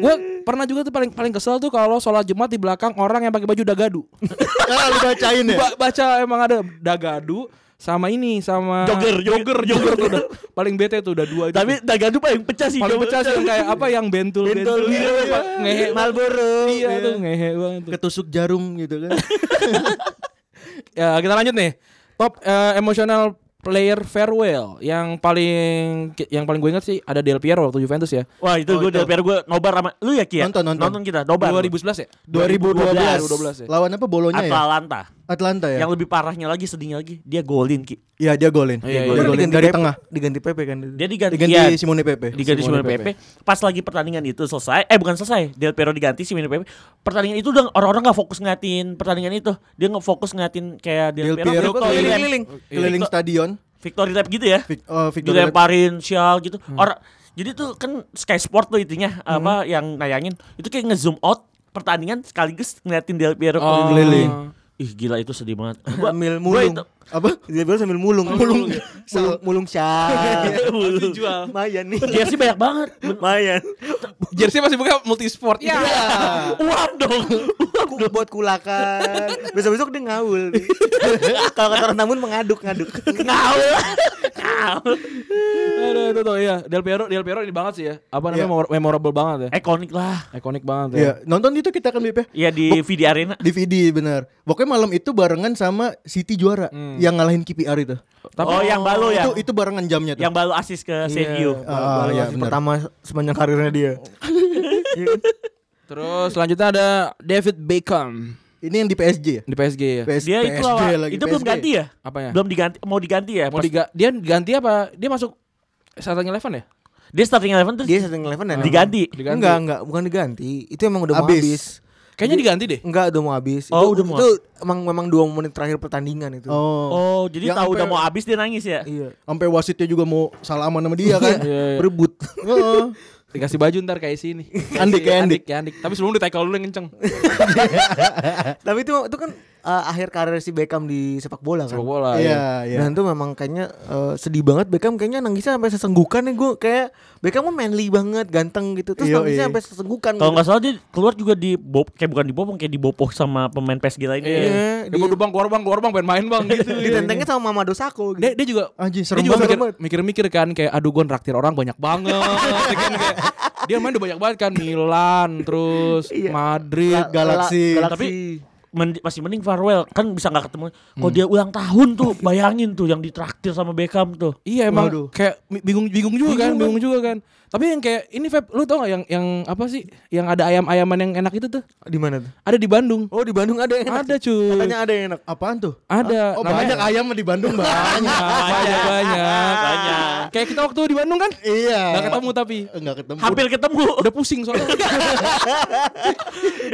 Speaker 3: gue pernah juga tuh paling paling kesel tuh kalau sholat Jumat di belakang orang yang pakai baju dagadu.
Speaker 5: Ah, lu bacain ya.
Speaker 3: Ba- baca emang ada dagadu sama ini sama
Speaker 4: Jogger, jogger,
Speaker 3: jogger tuh udah paling bete tuh udah dua itu.
Speaker 4: Iya, Tapi dagang tuh paling pecah sih.
Speaker 3: paling pecah sih yang kayak apa yang bentul
Speaker 4: Bentul, iya, iya.
Speaker 3: ngehe
Speaker 4: Marlboro.
Speaker 3: iya tuh ngehe banget tuh.
Speaker 5: Ketusuk jarum gitu kan.
Speaker 2: Iya.
Speaker 3: Ya, kita lanjut nih. Top eh, emotional player farewell yang paling yang paling gue ingat sih ada Del Piero waktu Juventus ya.
Speaker 4: Wah itu
Speaker 5: Oh,
Speaker 4: gue
Speaker 5: itu.
Speaker 4: dari PR gue nobar sama lu ya Ki ya?
Speaker 5: Nonton, nonton.
Speaker 4: kita nobar.
Speaker 3: 2011 ya? 2012
Speaker 5: 2012.
Speaker 3: ya.
Speaker 5: Lawan apa bolonya ya?
Speaker 4: Atalanta.
Speaker 5: Atlanta ya.
Speaker 4: Yang lebih parahnya lagi sedihnya lagi dia golin Ki.
Speaker 5: Iya, dia golin.
Speaker 3: Iya,
Speaker 5: Dia
Speaker 3: iya.
Speaker 5: golin.
Speaker 2: Diganti
Speaker 5: dari
Speaker 2: PP,
Speaker 5: tengah.
Speaker 2: Diganti PP kan.
Speaker 4: Dia diganti
Speaker 5: Diganti
Speaker 4: ya,
Speaker 5: Simone Pepe.
Speaker 4: diganti
Speaker 5: Simone
Speaker 4: Simone Pepe. Pas lagi pertandingan itu selesai, eh bukan selesai, Del Piero diganti Simone Pepe. Pertandingan itu udah orang-orang nggak fokus ngatin pertandingan itu. Dia nggak fokus ngatin kayak Del,
Speaker 5: Del Piero
Speaker 4: Victor
Speaker 5: keliling.
Speaker 4: Lap.
Speaker 2: Iya,
Speaker 5: Keliling
Speaker 4: Victor-
Speaker 5: stadion.
Speaker 4: Victory Lap gitu ya.
Speaker 5: Vic- eh, Victor Lap.
Speaker 4: dilemparin sial gitu. Orang jadi tuh kan Sky Sport tuh intinya apa yang nayangin itu kayak ngezoom out pertandingan sekaligus ngeliatin Del Piero
Speaker 3: Oh.
Speaker 5: Keliling.
Speaker 4: Ih gila itu sedih banget. Gua-
Speaker 2: sambil
Speaker 4: gua
Speaker 2: mulung.
Speaker 4: itu
Speaker 5: Apa?
Speaker 2: Dia bilang sambil mulung. Mulung. Mulung, mulung syah.
Speaker 3: Jual.
Speaker 2: Mayan nih.
Speaker 4: jersey banyak banget.
Speaker 2: Mayan.
Speaker 3: Jersey masih buka multisport. Iya.
Speaker 4: Uap dong.
Speaker 2: Ku- buat kulakan. Besok-besok dia ngaul. Kalau kata orang Tambun mengaduk-ngaduk.
Speaker 4: Ngaul. Ngaul.
Speaker 3: Aduh, itu tuh ya. Del Piero, Del Piero ini banget sih ya. Apa namanya memor- memorable banget ya.
Speaker 4: Ikonik lah.
Speaker 3: Ikonik banget ya.
Speaker 5: Iya, nonton itu kita kan BP.
Speaker 4: Ya di VD Arena.
Speaker 5: DVD benar. Pokoknya malam itu barengan sama City juara yang ngalahin KPR itu.
Speaker 3: Tapi-
Speaker 4: oh, Hmm. yang balu ya.
Speaker 5: Itu itu barengan jamnya tuh.
Speaker 4: yang balu asis ke Sergio.
Speaker 5: Ah, iya, benar.
Speaker 2: pertama sepanjang karirnya dia.
Speaker 3: Terus selanjutnya ada David Beckham
Speaker 5: Ini yang di PSG ya?
Speaker 3: di PSG ya.
Speaker 5: PS-
Speaker 4: Dia itu
Speaker 5: PSG
Speaker 4: awal-
Speaker 5: lagi,
Speaker 4: itu belum
Speaker 5: PSG.
Speaker 4: ganti ya?
Speaker 3: Apanya?
Speaker 4: Belum diganti mau diganti ya?
Speaker 3: Nah. Mau
Speaker 4: Pas-
Speaker 3: diga- dia ganti apa? Dia masuk starting eleven ya?
Speaker 4: dia starting eleven terus
Speaker 2: Dia starting eleven dan
Speaker 4: diganti.
Speaker 3: Diganti.
Speaker 2: Enggak, enggak, bukan diganti. Itu emang udah mau
Speaker 5: Habis.
Speaker 2: habis.
Speaker 3: Kayaknya diganti deh.
Speaker 2: Enggak, udah mau habis.
Speaker 4: Oh,
Speaker 2: itu,
Speaker 4: udah mau
Speaker 2: itu emang memang 2 menit terakhir pertandingan itu.
Speaker 5: Oh.
Speaker 4: Oh, jadi
Speaker 5: Yang
Speaker 4: tahu udah mau
Speaker 5: sampai-
Speaker 4: habis dia nangis ya?
Speaker 2: Iya.
Speaker 5: Sampai wasitnya juga mau salaman sama dia
Speaker 3: Iya,
Speaker 5: kan.
Speaker 4: Eh.
Speaker 3: iya.
Speaker 5: Berebut. Heeh.
Speaker 3: Dikasih baju ntar kayak sini.
Speaker 5: Andik, Iya. kayak Andik.
Speaker 3: ya Andik. Tapi sebelum di tackle dulu yang kenceng.
Speaker 2: Tapi itu itu kan eh, akhir karir si Beckham di sepak bola kan.
Speaker 3: Sepak bola.
Speaker 4: Ah,
Speaker 5: Iya, iya.
Speaker 2: Dan tuh memang kayaknya eh, sedih banget Beckham kayaknya nangisnya sampai sesenggukan nih gue kayak Beckham mah manly banget, ganteng gitu. Terus
Speaker 5: Iya,
Speaker 2: nangisnya
Speaker 5: iya.
Speaker 2: sampai sesenggukan.
Speaker 4: Kalau
Speaker 2: gitu.
Speaker 4: nggak salah dia keluar juga di bob, kayak bukan dibopong kayak dibopoh sama pemain PSG lainnya. ya.
Speaker 3: Iya.
Speaker 2: Iya,
Speaker 3: Dia mau bang, keluar bang, keluar bang, pengen main bang gitu.
Speaker 2: ditentengnya
Speaker 4: iya.
Speaker 2: sama Mama Dosako
Speaker 3: Dia,
Speaker 2: gitu.
Speaker 3: dia juga
Speaker 5: Iya. Anjing,
Speaker 3: dia
Speaker 5: serem
Speaker 3: juga
Speaker 5: banget.
Speaker 3: mikir, mikir-mikir kan kayak aduh gue nraktir orang banyak banget Ya kan, kayak, dia main udah banyak banget kan Milan terus
Speaker 5: Iya.
Speaker 3: Madrid
Speaker 5: Galaxy.
Speaker 2: Galaxy.
Speaker 4: Tapi men- masih mending Farewell kan bisa nggak ketemu. Kalau dia ulang tahun tuh bayangin tuh yang ditraktir sama Beckham tuh.
Speaker 3: Iya emang
Speaker 5: Waduh.
Speaker 3: kayak mi- bingung-bingung juga kan, bingung juga kan. Tapi yang kayak ini Feb, lu tau gak yang yang apa sih? Yang ada ayam-ayaman yang enak itu tuh?
Speaker 2: di mana tuh?
Speaker 3: Ada di Bandung.
Speaker 2: Oh, di Bandung ada yang enak.
Speaker 3: Ada cuy.
Speaker 2: Katanya ada yang enak.
Speaker 5: Apaan tuh?
Speaker 4: Eh,
Speaker 3: Ada.
Speaker 5: Oh,
Speaker 3: Namanya-
Speaker 5: banyak ayam di Bandung banyak.
Speaker 3: banyak banyak
Speaker 4: Banyak.
Speaker 3: Kayak kita waktu di Bandung kan?
Speaker 5: iya.
Speaker 3: Gak ketemu tapi
Speaker 5: Enggak ketemu.
Speaker 4: Hampir ketemu.
Speaker 3: udah pusing soalnya.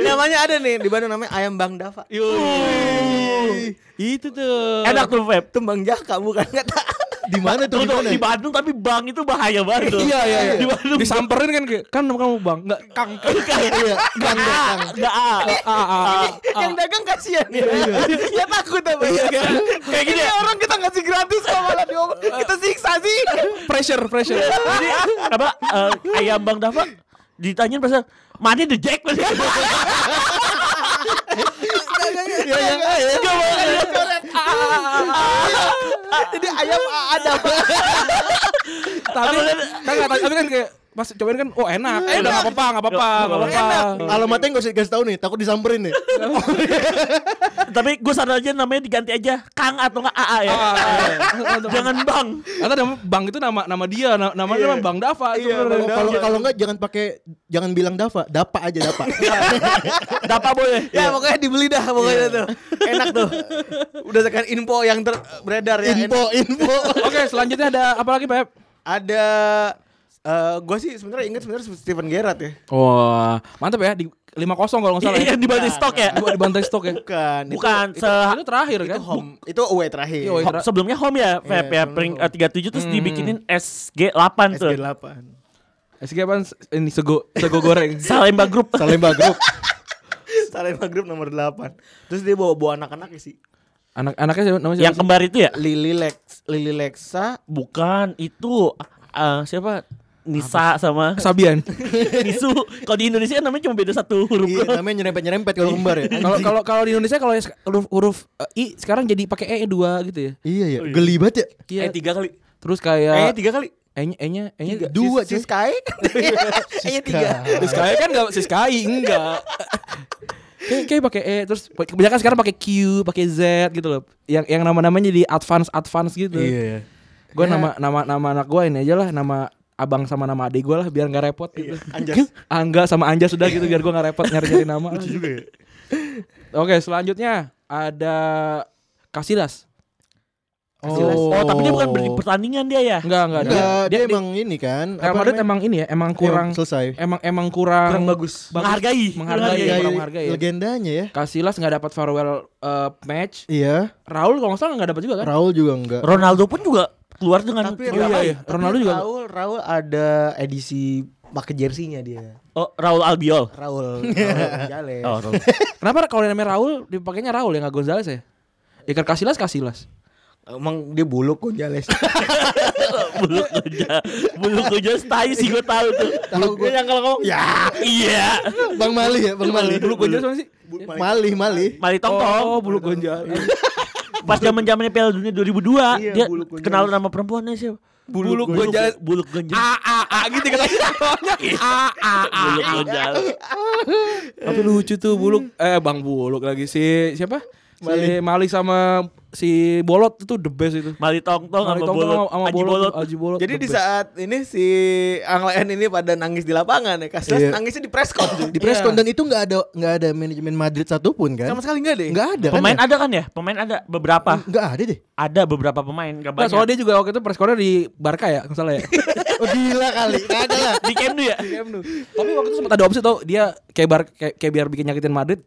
Speaker 4: Iya.
Speaker 2: namanya ada nih di Bandung namanya ayam Bang Dava.
Speaker 3: Yuh. Itu tuh.
Speaker 4: Enak tuh Feb.
Speaker 2: Itu Bang Jaka bukan kata.
Speaker 5: Di mana
Speaker 4: Tuh,
Speaker 5: tuh?
Speaker 4: tuh,
Speaker 5: Di mana?
Speaker 4: di Bandung tapi bang itu bahaya banget. tuh.
Speaker 3: Iya iya iya.
Speaker 4: Di Bandung.
Speaker 3: Disamperin kan kayak, kan nama kamu Bang. Enggak Kang.
Speaker 5: Iya. Gang, gang.
Speaker 4: Nggak, ah. Iya,
Speaker 3: Ah, ah, ah.
Speaker 2: yang dagang kasihan ya. Dia takut apa ya?
Speaker 4: Kayak gini
Speaker 2: Ini
Speaker 4: ya. Ah.
Speaker 2: orang kita ngasih gratis kok malah diomong. Kita siksa sih.
Speaker 3: Pressure, pressure.
Speaker 4: Jadi apa eh, ayam Bang Dava ditanyain pasal mana the jack Mas?"
Speaker 2: Dagangnya ya yang Jadi ayam ah. ada apa?
Speaker 3: tapi kan tapi kan kayak pas cobain kan oh enak. Eh, udah enggak apa-apa, enggak apa-apa, enggak apa-apa.
Speaker 5: Alamatnya gak usah dikasih tahu nih, takut disamperin nih.
Speaker 4: Tapi gue saran aja namanya diganti aja Kang atau nggak AA ya.
Speaker 3: Ah, iya.
Speaker 4: Jangan Bang.
Speaker 3: Atau nama Bang itu nama nama dia, na- namanya nama Bang Dava itu
Speaker 4: Iya,
Speaker 5: Kalau
Speaker 3: sebenarnya.
Speaker 5: kalau- kalau enggak jangan pakai jangan bilang Dava, Dapa aja Dapa.
Speaker 4: Iya. Dapat boleh.
Speaker 2: Ya pokoknya dibeli dah pokoknya tuh. Iya. Enak tuh. Udah tekan info yang ter- beredar ya.
Speaker 5: info,
Speaker 2: enak.
Speaker 5: info.
Speaker 3: Oke, selanjutnya ada apa lagi, Pep?
Speaker 2: Ada eh gue sih sebenarnya inget sebenarnya Steven Gerrard ya.
Speaker 3: Wah, mantap ya di 5-0 kalau nggak salah.
Speaker 4: Iya
Speaker 3: ya.
Speaker 4: di Bali stok ya.
Speaker 3: Di bantai stok ya.
Speaker 2: Bukan. itu-
Speaker 4: Bukan
Speaker 3: Itu,
Speaker 4: se-
Speaker 3: itu terakhir
Speaker 2: Itu,
Speaker 3: kan?
Speaker 2: home. Itu away terakhir.
Speaker 3: Iya, away.
Speaker 4: Ho- sebelumnya home ya, Feb
Speaker 2: Iya,
Speaker 4: ya, pering eh, 37 terus dibikinin SG8 tuh.
Speaker 2: SG8.
Speaker 3: SG apaan? Ini sego sego goreng.
Speaker 4: Salemba Group.
Speaker 5: Salemba Group.
Speaker 2: Salemba Group nomor 8. Terus dia bawa bawa anak-anak sih.
Speaker 3: Anak-anaknya siapa- namanya siapa
Speaker 4: yang
Speaker 3: sih?
Speaker 4: kembar itu ya?
Speaker 2: Lili Lex, Lili Lexa,
Speaker 4: Bukan, itu eh, siapa? Nisa sama
Speaker 3: Sabian.
Speaker 4: Nisu. Kalau di Indonesia namanya cuma beda satu huruf.
Speaker 5: Iya,
Speaker 4: doang.
Speaker 5: namanya nyerempet-nyerempet kalau kembar ya.
Speaker 3: Kalau kalau kalau di Indonesia kalau yang sek- huruf, huruf eh, i sekarang jadi pakai e dua gitu ya.
Speaker 5: Iya ya, geli banget ya.
Speaker 3: Iya.
Speaker 4: Eh tiga kali.
Speaker 3: Terus
Speaker 2: eh
Speaker 3: kayak
Speaker 2: tiga kali.
Speaker 3: e-nya e-nya e-nya
Speaker 5: E Dua,
Speaker 2: si, si
Speaker 5: cuy.
Speaker 2: Sky. Kayaknya tiga.
Speaker 3: Si Sky kan enggak si Sky enggak. Kayak kayak pakai E terus kebanyakan sekarang pakai Q, pakai Z gitu loh. Yang yang nama-namanya jadi advance advance gitu.
Speaker 5: Iya.
Speaker 3: Gue nama nama nama anak gue ini aja lah nama abang sama nama adik gue lah biar nggak repot gitu.
Speaker 5: Iya.
Speaker 2: Anjas.
Speaker 3: Angga sama Anja sudah gitu biar gue nggak repot nyari-nyari nama.
Speaker 5: Juga ya.
Speaker 3: Oke, selanjutnya ada Kasidas.
Speaker 4: Oh, tapi dia bukan ber- di pertandingan dia ya.
Speaker 3: Enggak, enggak,
Speaker 5: Enggak, Iya, dia, Iya,
Speaker 3: dia,
Speaker 5: emang ini kan.
Speaker 3: Real Madrid emang ini ya, emang kurang
Speaker 5: kurang selesai.
Speaker 3: emang emang kurang,
Speaker 2: Kurang bagus.
Speaker 4: Menghargai.
Speaker 3: Menghargai.
Speaker 4: iya,
Speaker 5: Hargai
Speaker 3: kurang menghargai ya.
Speaker 5: legendanya ya.
Speaker 3: Casillas nggak dapat farewell eh, match.
Speaker 5: Iya,
Speaker 3: Raul kalau nggak salah nggak dapat juga kan?
Speaker 5: Raul juga enggak.
Speaker 4: Ronaldo pun juga keluar
Speaker 2: Tapi
Speaker 4: dengan tiga
Speaker 3: iya,
Speaker 4: kali.
Speaker 3: iya. Ronaldo
Speaker 2: Tapi
Speaker 3: juga.
Speaker 2: Raul, Raul ada edisi pakai jersinya dia.
Speaker 4: Oh, Raul Albiol.
Speaker 2: Raul. Iya, Raul Gonzalez.
Speaker 4: Oh, Raul.
Speaker 3: Kenapa kalau yang namanya Raul dipakainya Raul ya nggak Gonzales ya? Iker Casillas Casillas.
Speaker 2: Emang dia buluk Gonzales.
Speaker 4: Buluk aja. Buluk aja stay sih gue tahu tuh. Iya,
Speaker 5: Tahu gua.
Speaker 4: yang kalau ngomong ya. Iya.
Speaker 5: Bang Mali ya, Bang Mali.
Speaker 3: Dulu Gonzales mana sih?
Speaker 5: Mali, Mali.
Speaker 4: Mali Tong Tong.
Speaker 3: Oh, bulu Gonzales.
Speaker 4: Pas zaman zamannya Piala Dunia 2002,
Speaker 2: Iya,
Speaker 4: dia
Speaker 2: Buluk Gonzales.
Speaker 4: kenal nama perempuannya siapa? Ah,
Speaker 3: Buluk Gonzales.
Speaker 4: Buluk Gonzales.
Speaker 3: A A A gitu katanya. A
Speaker 4: ah,
Speaker 3: A A.
Speaker 4: Buluk Gonzales.
Speaker 3: Tapi lucu tuh Buluk eh Bang Buluk lagi si siapa? Si Mali sama si Bolot itu the best itu.
Speaker 4: Mali Tong Tong
Speaker 3: Mali
Speaker 4: sama
Speaker 3: Tongtong
Speaker 4: Buluk.
Speaker 3: sama
Speaker 4: Haji Bolot.
Speaker 3: Haji Bolot.
Speaker 2: Jadi
Speaker 3: the
Speaker 2: di
Speaker 3: best.
Speaker 2: saat ini si Anglaen ini pada nangis di lapangan ya. Casillas
Speaker 5: Iya.
Speaker 2: nangisnya di press con.
Speaker 5: Di press con dan itu enggak ada enggak ada manajemen Madrid satupun kan?
Speaker 2: Iya. Sama sekali enggak deh.
Speaker 5: Enggak ada
Speaker 4: Pemain
Speaker 5: kan?
Speaker 4: ada kan ya? Pemain ada beberapa.
Speaker 5: ya? Enggak ada deh.
Speaker 4: Ada beberapa pemain, gak
Speaker 3: Nah,
Speaker 4: banyak.
Speaker 3: soalnya dia juga waktu itu press corner di Barca ya, kalau nggak salah ya.
Speaker 5: Oh, gila kali. Enggak ada lah.
Speaker 4: di Kemdu ya?
Speaker 3: Tapi waktu itu sempat ada opsi tau dia kayak bar kayak, kayak biar bikin nyakitin Madrid,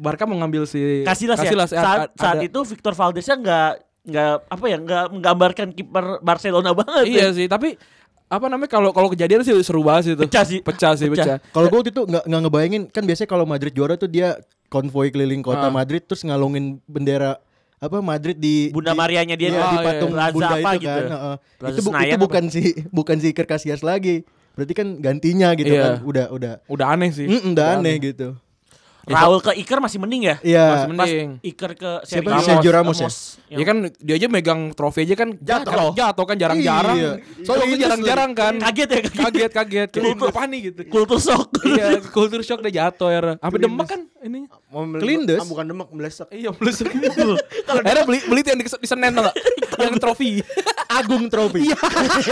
Speaker 3: Barca mau ngambil si
Speaker 4: Casillas ya.
Speaker 3: Casillas,
Speaker 4: Saat,
Speaker 3: ada-
Speaker 4: saat
Speaker 3: ada-
Speaker 4: itu Victor Valdeznya nggak nggak apa ya nggak menggambarkan kiper Barcelona banget.
Speaker 3: Iya
Speaker 4: ya.
Speaker 3: sih, tapi apa namanya kalau kalau kejadian sih seru banget sih itu.
Speaker 4: Pecah sih.
Speaker 3: Pecah sih, pecah.
Speaker 4: Pecah.
Speaker 5: Kalau gue waktu itu nggak nggak ngebayangin kan biasanya kalau Madrid juara tuh dia konvoy keliling kota
Speaker 4: Ah.
Speaker 5: Madrid terus ngalungin bendera apa Madrid di
Speaker 4: Bunda
Speaker 5: di-
Speaker 4: Marianya dia
Speaker 5: iya,
Speaker 4: tuh. Oh,
Speaker 5: di
Speaker 4: iya.
Speaker 5: patung
Speaker 4: Plaza
Speaker 5: Bunda
Speaker 4: apa
Speaker 5: itu
Speaker 4: gitu.
Speaker 5: kan. heeh.
Speaker 4: Plaza
Speaker 5: Itu, bu- itu
Speaker 4: Senayan apa?
Speaker 5: bukan si bukan si Iker Casillas lagi. Berarti kan gantinya gitu
Speaker 3: Iya.
Speaker 5: kan. Udah udah.
Speaker 3: Udah aneh
Speaker 4: Iya,
Speaker 3: sih.
Speaker 5: Mm, udah aneh gitu.
Speaker 4: Raul ke Iker masih mending ya?
Speaker 3: Masih
Speaker 5: Iya.
Speaker 4: Pas
Speaker 3: Iya. mending.
Speaker 4: Iker ke
Speaker 5: Siapa? Sergio Ramos ya?
Speaker 4: Yang-
Speaker 3: Ya kan dia aja megang trofi aja kan
Speaker 5: Jatuh.
Speaker 3: Jatuh kan jarang-jarang.
Speaker 5: Iya.
Speaker 3: Soalnya
Speaker 5: Iya.
Speaker 3: itu jarang-jarang kan.
Speaker 4: Kaget ya,
Speaker 3: Kaget
Speaker 4: kaget.
Speaker 3: kaget. Kayak,
Speaker 4: Kultur.
Speaker 3: Apa nih gitu.
Speaker 4: Kultur shock.
Speaker 3: Iya, kultur shock dia jatuh ya. Sampai demek kan ini.
Speaker 2: Mau mel-
Speaker 5: Kelindes.
Speaker 2: Ah, bukan demek melesek.
Speaker 3: Iya, belus. Akhirnya beli beli tuh yang di, di Senen tau nggak? yang trofi.
Speaker 5: Agung Trophy.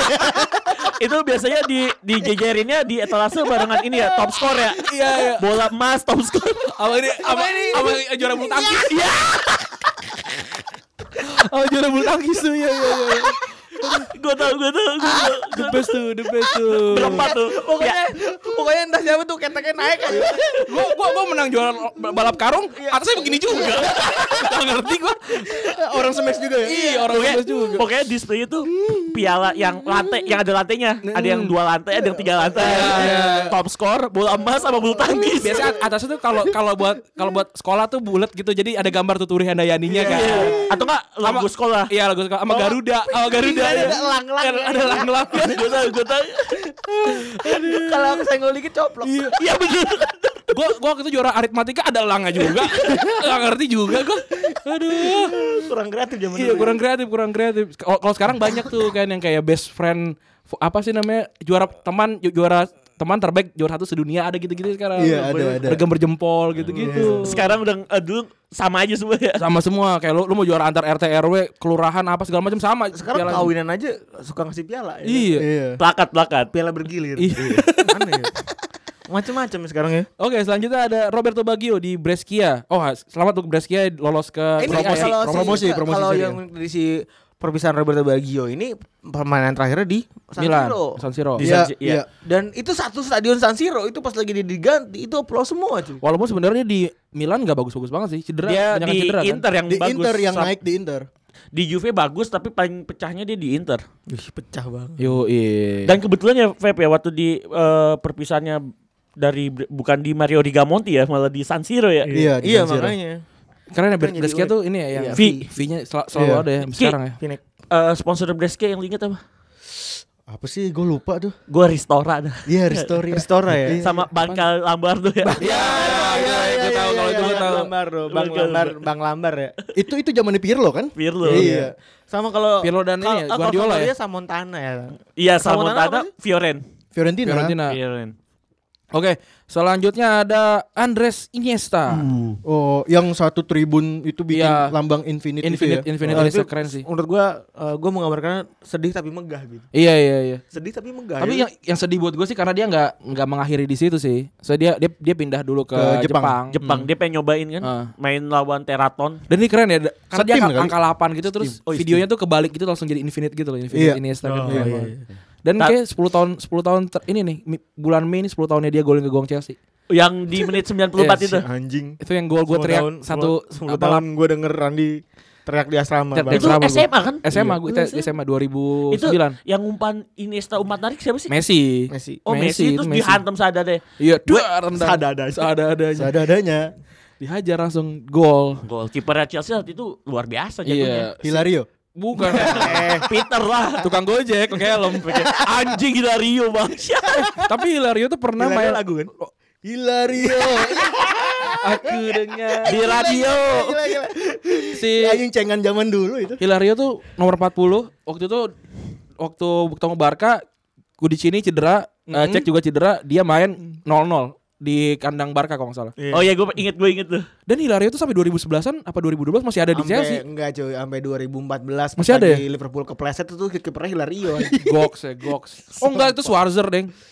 Speaker 4: itu biasanya di di jejerinnya di etalase barengan ini ya top score ya
Speaker 3: Iya, iya.
Speaker 4: bola emas top score
Speaker 3: Apa ini? Apa ini? Apa yang juara bulu tangkis? Iya. Oh juara bulu tangkis tuh ya ya ya.
Speaker 4: gue tau gue tau gue tau
Speaker 3: The best tuh, the best tuh.
Speaker 4: berempat tuh ya,
Speaker 2: Pokoknya Iya. pokoknya entah siapa tuh keteknya naik kan. aja.
Speaker 3: Gua gua gua menang juara balap karung, atasnya begini juga. Enggak ngerti gua.
Speaker 5: Orang smash juga ya.
Speaker 3: Iya, orang
Speaker 4: pokoknya,
Speaker 3: bebas juga.
Speaker 4: pokoknya display itu piala yang lantai yang ada lantainya ada yang dua lantai ada yang tiga lantai top score bola emas sama bulu tangkis
Speaker 3: Biasanya atasnya tuh kalau kalau buat kalau buat sekolah tuh bulat gitu. Jadi ada gambar tuturi handayaninya kan.
Speaker 4: Iya. atau enggak
Speaker 3: Sama-
Speaker 4: logo sekolah
Speaker 3: Iya, lagu sekolah sama Garuda. Sama Garuda.
Speaker 2: Iya,
Speaker 3: ya.
Speaker 2: ada elang-elang.
Speaker 3: Ada- Ada lang-lang.
Speaker 4: gue tau gue tau
Speaker 2: Kalau aku senggol dikit coplok.
Speaker 4: iya bener
Speaker 3: iya, Gua gua waktu itu juara aritmatika ada langa juga. Enggak ngerti juga gua. Aduh.
Speaker 2: kurang kreatif zaman
Speaker 3: Iya, kurang kreatif, kurang kreatif. Kalau kalau sekarang banyak tuh kan yang kayak best friend fo- apa sih namanya? Juara teman ju- juara teman terbaik juara satu sedunia ada gitu-gitu sekarang.
Speaker 5: Iya, ada, ada.
Speaker 3: Bergembar jempol gitu-gitu.
Speaker 4: Sekarang udah eh, dulu sama aja semua ya.
Speaker 3: sama semua kayak lu, lu mau juara antar RT RW, kelurahan apa segala macam sama.
Speaker 2: Sekarang
Speaker 3: Piala-
Speaker 2: kawinan aja suka ngasih piala. ya.
Speaker 3: Iya.
Speaker 5: Iya.
Speaker 4: Plakat plakat.
Speaker 2: Piala bergilir.
Speaker 3: Iya.
Speaker 2: Aneh. Macam-macam ya sekarang ya.
Speaker 3: Oke, selanjutnya ada Roberto Baggio di Brescia. Oh, ha- selamat untuk Brescia lolos
Speaker 2: Ini
Speaker 3: ke promosi.
Speaker 2: kalau si-
Speaker 5: promosi, promosi
Speaker 2: Kalau
Speaker 5: Serie A.
Speaker 2: yang dari si perpisahan Roberto Baggio ini permainan terakhirnya di San
Speaker 3: Milan,
Speaker 2: Siro. Ya,
Speaker 3: San Siro.
Speaker 4: Di-
Speaker 5: Iya,
Speaker 4: Bisa- iya.
Speaker 5: iya.
Speaker 2: Dan itu satu stadion San Siro itu pas lagi diganti itu aplaus semua cuy.
Speaker 3: Walaupun sebenarnya di Milan nggak bagus-bagus banget sih, cedera
Speaker 4: Dia
Speaker 3: kebanyakan
Speaker 4: di
Speaker 3: cedera kan.
Speaker 4: Inter yang
Speaker 5: Di
Speaker 4: bagus.
Speaker 5: Inter yang
Speaker 4: Sam-
Speaker 5: naik di Inter.
Speaker 4: Di Juve bagus tapi paling pecahnya dia di Inter.
Speaker 2: Wih, pecah banget.
Speaker 3: Yo, iya.
Speaker 4: Dan kebetulan ya Feb ya waktu di eh, perpisahannya dari Bre- bukan di Mario Rigamonti ya malah di San Siro ya.
Speaker 5: Iya, di
Speaker 2: iya
Speaker 5: San Siro.
Speaker 2: makanya.
Speaker 3: Keren ya Bre-
Speaker 2: Kan jadi
Speaker 3: Brescia
Speaker 2: unik.
Speaker 3: tuh ini ya yang
Speaker 2: Iya.
Speaker 3: fee fee-nya sel- selalu
Speaker 5: Iya.
Speaker 3: ada ya sampai sekarang ya.
Speaker 2: Pinek.
Speaker 4: Eh, sponsor Brescia yang lu inget apa?
Speaker 5: Apa sih gue lupa tuh.
Speaker 4: Gua Ristora dah.
Speaker 5: Iya, Ristori.
Speaker 2: Ristora ya?
Speaker 5: Iya.
Speaker 4: Sama Bangkal Lambardo ya.
Speaker 3: Iya, iya, gue tahu kalau itu gue tahu.
Speaker 2: Lambar, bro. Bang
Speaker 4: Betul,
Speaker 2: Lambar,
Speaker 4: betul.
Speaker 2: Bang Lambar ya.
Speaker 5: Itu itu zamannya Pirlo kan?
Speaker 4: Pirlo.
Speaker 5: Iya.
Speaker 2: Sama kalau
Speaker 3: Pirlo dan
Speaker 2: kalau-
Speaker 3: ini ya,
Speaker 2: eh, kalau
Speaker 3: Guardiola ya?
Speaker 2: Sampdoria sama Montana ya.
Speaker 4: Iya,
Speaker 2: Sama Montana apa
Speaker 4: Salmontana,
Speaker 2: sih?
Speaker 4: Fioren.
Speaker 5: Fiorentina.
Speaker 3: Fiorentina.
Speaker 4: Fioren.
Speaker 3: Oke, selanjutnya ada Andres Iniesta.
Speaker 5: Oh, yang satu tribun itu bikin
Speaker 3: Iya.
Speaker 5: lambang infinite,
Speaker 3: Infinite
Speaker 5: itu ya.
Speaker 3: Infinite
Speaker 2: Oh,
Speaker 3: Iniesta
Speaker 2: tapi-
Speaker 3: keren sih.
Speaker 2: Menurut gua eh, gua menggambarkan sedih tapi megah gitu.
Speaker 3: Iya, iya, iya.
Speaker 2: Sedih tapi megah.
Speaker 3: Tapi
Speaker 2: ya.
Speaker 3: yang yang sedih buat gue sih karena dia nggak nggak mengakhiri di situ sih. So dia dia dia pindah dulu ke,
Speaker 5: Ke Jepang.
Speaker 3: Jepang.
Speaker 4: Jepang dia pengen nyobain kan
Speaker 3: Hmm. Ah.
Speaker 4: main lawan Teraton.
Speaker 3: Dan ini keren ya, da- karena dia
Speaker 5: Steam
Speaker 3: angka,
Speaker 5: kali.
Speaker 3: angka 8 gitu terus
Speaker 4: Oh, iya,
Speaker 3: videonya tuh kebalik gitu langsung jadi infinite gitu loh, infinite
Speaker 5: Iya.
Speaker 3: Iniesta gitu.
Speaker 2: Iya, iya, iya.
Speaker 3: Dan
Speaker 4: Ta-
Speaker 3: kayak 10 tahun 10 tahun ter- ini nih mi- bulan Mei ini 10 tahunnya dia golin ke gawang Chelsea.
Speaker 4: Yang di menit 94
Speaker 2: Si
Speaker 4: itu.
Speaker 2: anjing.
Speaker 3: Itu yang gol gue
Speaker 2: Sepuluh
Speaker 3: teriak
Speaker 2: tahun,
Speaker 3: satu
Speaker 2: sepuluh- sepuluh
Speaker 3: apa,
Speaker 2: tahun gue denger Randi teriak di asrama.
Speaker 3: Teriak di
Speaker 2: Bang.
Speaker 4: Itu
Speaker 3: Drama gua.
Speaker 4: SMA kan?
Speaker 3: SMA gue
Speaker 4: Iya.
Speaker 3: SMA
Speaker 4: Itu
Speaker 3: 2009.
Speaker 4: yang umpan Iniesta umpan tarik siapa sih?
Speaker 3: Oh, Messi.
Speaker 2: Messi.
Speaker 4: Oh Messi, terus dihantam sadar deh.
Speaker 3: Iya, dua
Speaker 2: sadadanya.
Speaker 3: Sadadanya.
Speaker 5: Seadanya.
Speaker 3: Dihajar langsung gol.
Speaker 4: Gol kipernya Chelsea saat itu luar biasa
Speaker 3: Iya.
Speaker 4: jagonya.
Speaker 5: Hilario.
Speaker 3: Bukan.
Speaker 4: Eh, Peter lah.
Speaker 3: Tukang gojek pakai helm.
Speaker 4: Anjing Hilario bang.
Speaker 3: Tapi Hilario tuh pernah
Speaker 2: Hilario
Speaker 3: main
Speaker 2: lagu kan?
Speaker 5: Hilario.
Speaker 3: aku dengar
Speaker 4: Di radio.
Speaker 5: gila, gila.
Speaker 3: si
Speaker 5: Anjing cengan zaman dulu itu.
Speaker 3: Hilario tuh nomor 40 waktu itu waktu ketemu Barca Kudicini cedera eh, cek juga cedera dia main 0-0 di kandang Barca kalau nggak salah
Speaker 4: Oh iya gue inget gue inget tuh.
Speaker 3: dan Hilario tuh sampai 2011an apa 2012 masih ada di
Speaker 2: Sampai
Speaker 3: Chelsea
Speaker 2: enggak cuy, sampai 2014 pas
Speaker 3: Masih ada ya?
Speaker 2: lagi Liverpool kepleset itu tuh kipernya Hilario. anjing.
Speaker 3: Goks ya Goks oh enggak itu Schwarzer deng Kan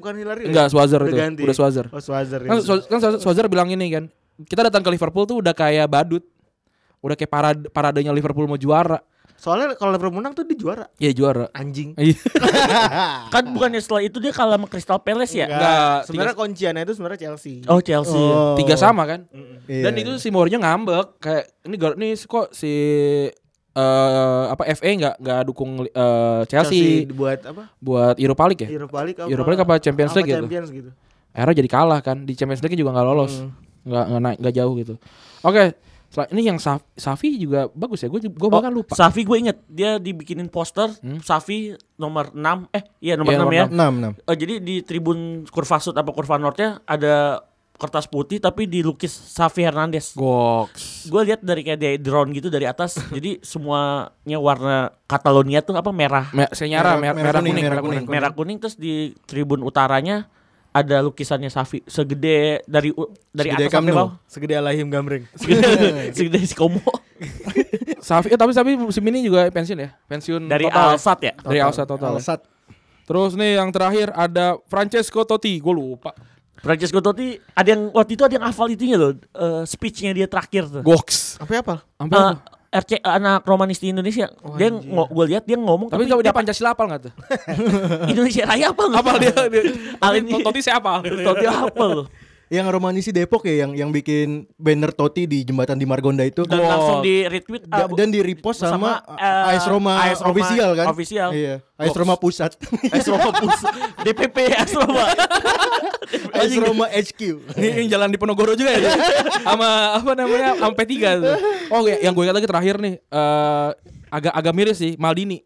Speaker 2: Bukan Hilario. ya?
Speaker 3: enggak Schwarzer
Speaker 2: Udah
Speaker 3: itu
Speaker 2: ganti.
Speaker 3: udah Schwarzer
Speaker 2: Oh, Swazer.
Speaker 3: kan, Schwar- kan Schwar- Schwarzer bilang ini kan kita datang ke Liverpool tuh udah kayak badut udah kayak parade paradenya Liverpool mau juara
Speaker 2: Soalnya kalau Liverpool menang tuh dia juara.
Speaker 3: ya juara
Speaker 2: Anjing.
Speaker 3: Iya.
Speaker 4: Kan bukannya setelah itu dia kalah sama Crystal Palace ya?
Speaker 3: Enggak,
Speaker 2: Sebenarnya kunciannya itu sebenarnya Chelsea.
Speaker 4: Oh Chelsea.
Speaker 3: tiga sama kan
Speaker 5: Iya.
Speaker 3: Dan itu si Mourinho ngambek kayak ini gar ini kok si eh apa FA nggak nggak dukung eh, Chelsea,
Speaker 2: buat apa?
Speaker 3: buat Europa League ya.
Speaker 2: Europa League apa?
Speaker 3: Europa League apa Champions League gitu.
Speaker 2: Champions gitu.
Speaker 3: Akhirnya jadi kalah kan di Champions League juga nggak lolos, nggak nggak naik nggak jauh gitu. Oke, setelah ini yang Saf- Safi juga bagus ya. Gue gue bahkan lupa.
Speaker 4: Safi gue inget dia dibikinin poster Safi nomor 6 eh iya nomor
Speaker 3: Iya,
Speaker 4: enam
Speaker 3: nomor
Speaker 4: 6 ya.
Speaker 5: enam enam.
Speaker 4: Eh, jadi di tribun kurva sud apa kurva northnya ada kertas putih tapi dilukis Safi Hernandez.
Speaker 3: Goks.
Speaker 4: Gue lihat dari kayak di drone gitu dari atas. jadi semuanya warna Catalonia tuh apa merah.
Speaker 3: Me Senyara merah, merah, kuning, merah kuning.
Speaker 4: Merah kuning terus di tribun utaranya ada lukisannya Safi segede dari u- dari
Speaker 5: Segede
Speaker 4: atas sampai
Speaker 5: Camp Nou.
Speaker 4: bawah.
Speaker 2: Segede Alahim Gambreng.
Speaker 4: Segede, segede si Komo.
Speaker 3: Safi eh, tapi Safi musim ini juga pensiun ya. Pensiun
Speaker 4: Dari
Speaker 3: total.
Speaker 4: Alsat ya.
Speaker 3: Dari Alsa total. ya.
Speaker 5: Alsat.
Speaker 3: Terus nih yang terakhir ada Francesco Totti. Gue lupa.
Speaker 4: Francesco Totti ada yang waktu itu ada yang hafal itunya loh eh, speech-nya dia terakhir tuh.
Speaker 3: Goks.
Speaker 2: Apa apa?
Speaker 3: Sampai
Speaker 4: Eh,
Speaker 3: apa?
Speaker 4: RC anak Romanis di Indonesia. dia ngo- gue lihat dia ngomong
Speaker 3: Tapi kalau dia Pancasila apal nggak tuh?
Speaker 4: Indonesia Raya apa nggak?
Speaker 3: apal dia. dia
Speaker 4: Alin
Speaker 3: Tot- Totti saya apal.
Speaker 4: Totti apa loh?
Speaker 5: Yang romanisi Depok ya yang yang bikin banner Toti di jembatan di Margonda itu.
Speaker 4: Dan
Speaker 3: Gol.
Speaker 4: langsung di retweet ah,
Speaker 5: Da- dan di repost eh, sama, uh, AS Roma official kan?
Speaker 4: Official.
Speaker 5: Iya. AS Roma pusat.
Speaker 4: AS Roma Pus, DPP AS Roma.
Speaker 5: AS Roma HQ.
Speaker 3: Ini yang jalan di Penogoro juga ya. Sama apa namanya? Sampai tiga tuh. Oh ya, yang gue ingat lagi terakhir nih. eh, agak agak miris sih Maldini.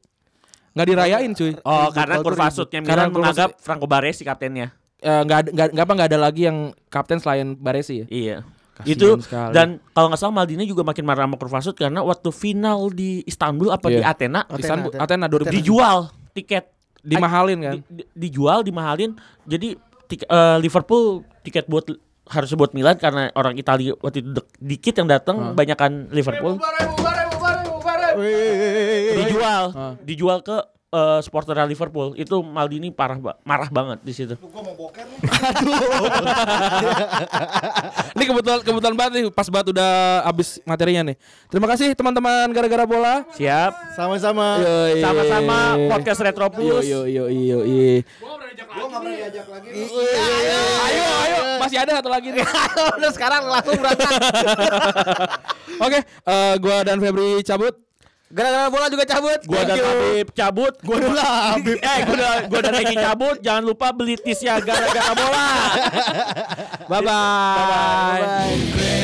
Speaker 3: Nggak dirayain cuy.
Speaker 4: Oh, karena kurva sudnya Milan
Speaker 3: Karena kurva
Speaker 4: menganggap Franco Baresi kaptennya.
Speaker 3: eh, nggak ada nggak nggak apa nggak ada lagi yang kapten selain Baresi ya.
Speaker 4: Iya.
Speaker 3: Kasian
Speaker 4: itu
Speaker 3: sekali.
Speaker 4: dan kalau nggak salah Maldini juga makin marah sama Kurvasut karena waktu final di Istanbul apa
Speaker 3: Iya.
Speaker 4: di Athena
Speaker 3: Di
Speaker 2: Athena,
Speaker 3: San-
Speaker 2: Athena.
Speaker 3: Athena 2000
Speaker 4: dijual tiket
Speaker 3: dimahalin kan.
Speaker 4: Di- di- dijual dimahalin jadi tik- eh, Liverpool tiket buat harusnya buat Milan karena orang Italia waktu itu dek- dikit yang datang banyakan Liverpool Eh, dijual
Speaker 3: Hah.
Speaker 4: dijual ke eh, supporter Liverpool itu Maldini parah ba- marah banget di situ
Speaker 3: Ini kebetulan kebetulan banget nih pas banget udah habis materinya nih. Terima kasih teman-teman gara-gara bola.
Speaker 4: siap
Speaker 5: Sama-sama.
Speaker 3: Yoi.
Speaker 4: sama-sama podcast Retropus
Speaker 3: Eh. Yo yo yo yo. Ayo ayo masih ada satu lagi nih.
Speaker 2: Iya, Udah sekarang langsung berangkat.
Speaker 3: Oke, eh, gua dan Febri cabut.
Speaker 2: Gara-gara bola juga cabut.
Speaker 4: Gua
Speaker 2: Thank
Speaker 4: dan
Speaker 2: you.
Speaker 4: Habib cabut. Gua dan Habib. Eh, gua dan gua dan Egi cabut. Jangan lupa beli tisnya gara-gara bola.
Speaker 3: Bye bye.
Speaker 2: Bye.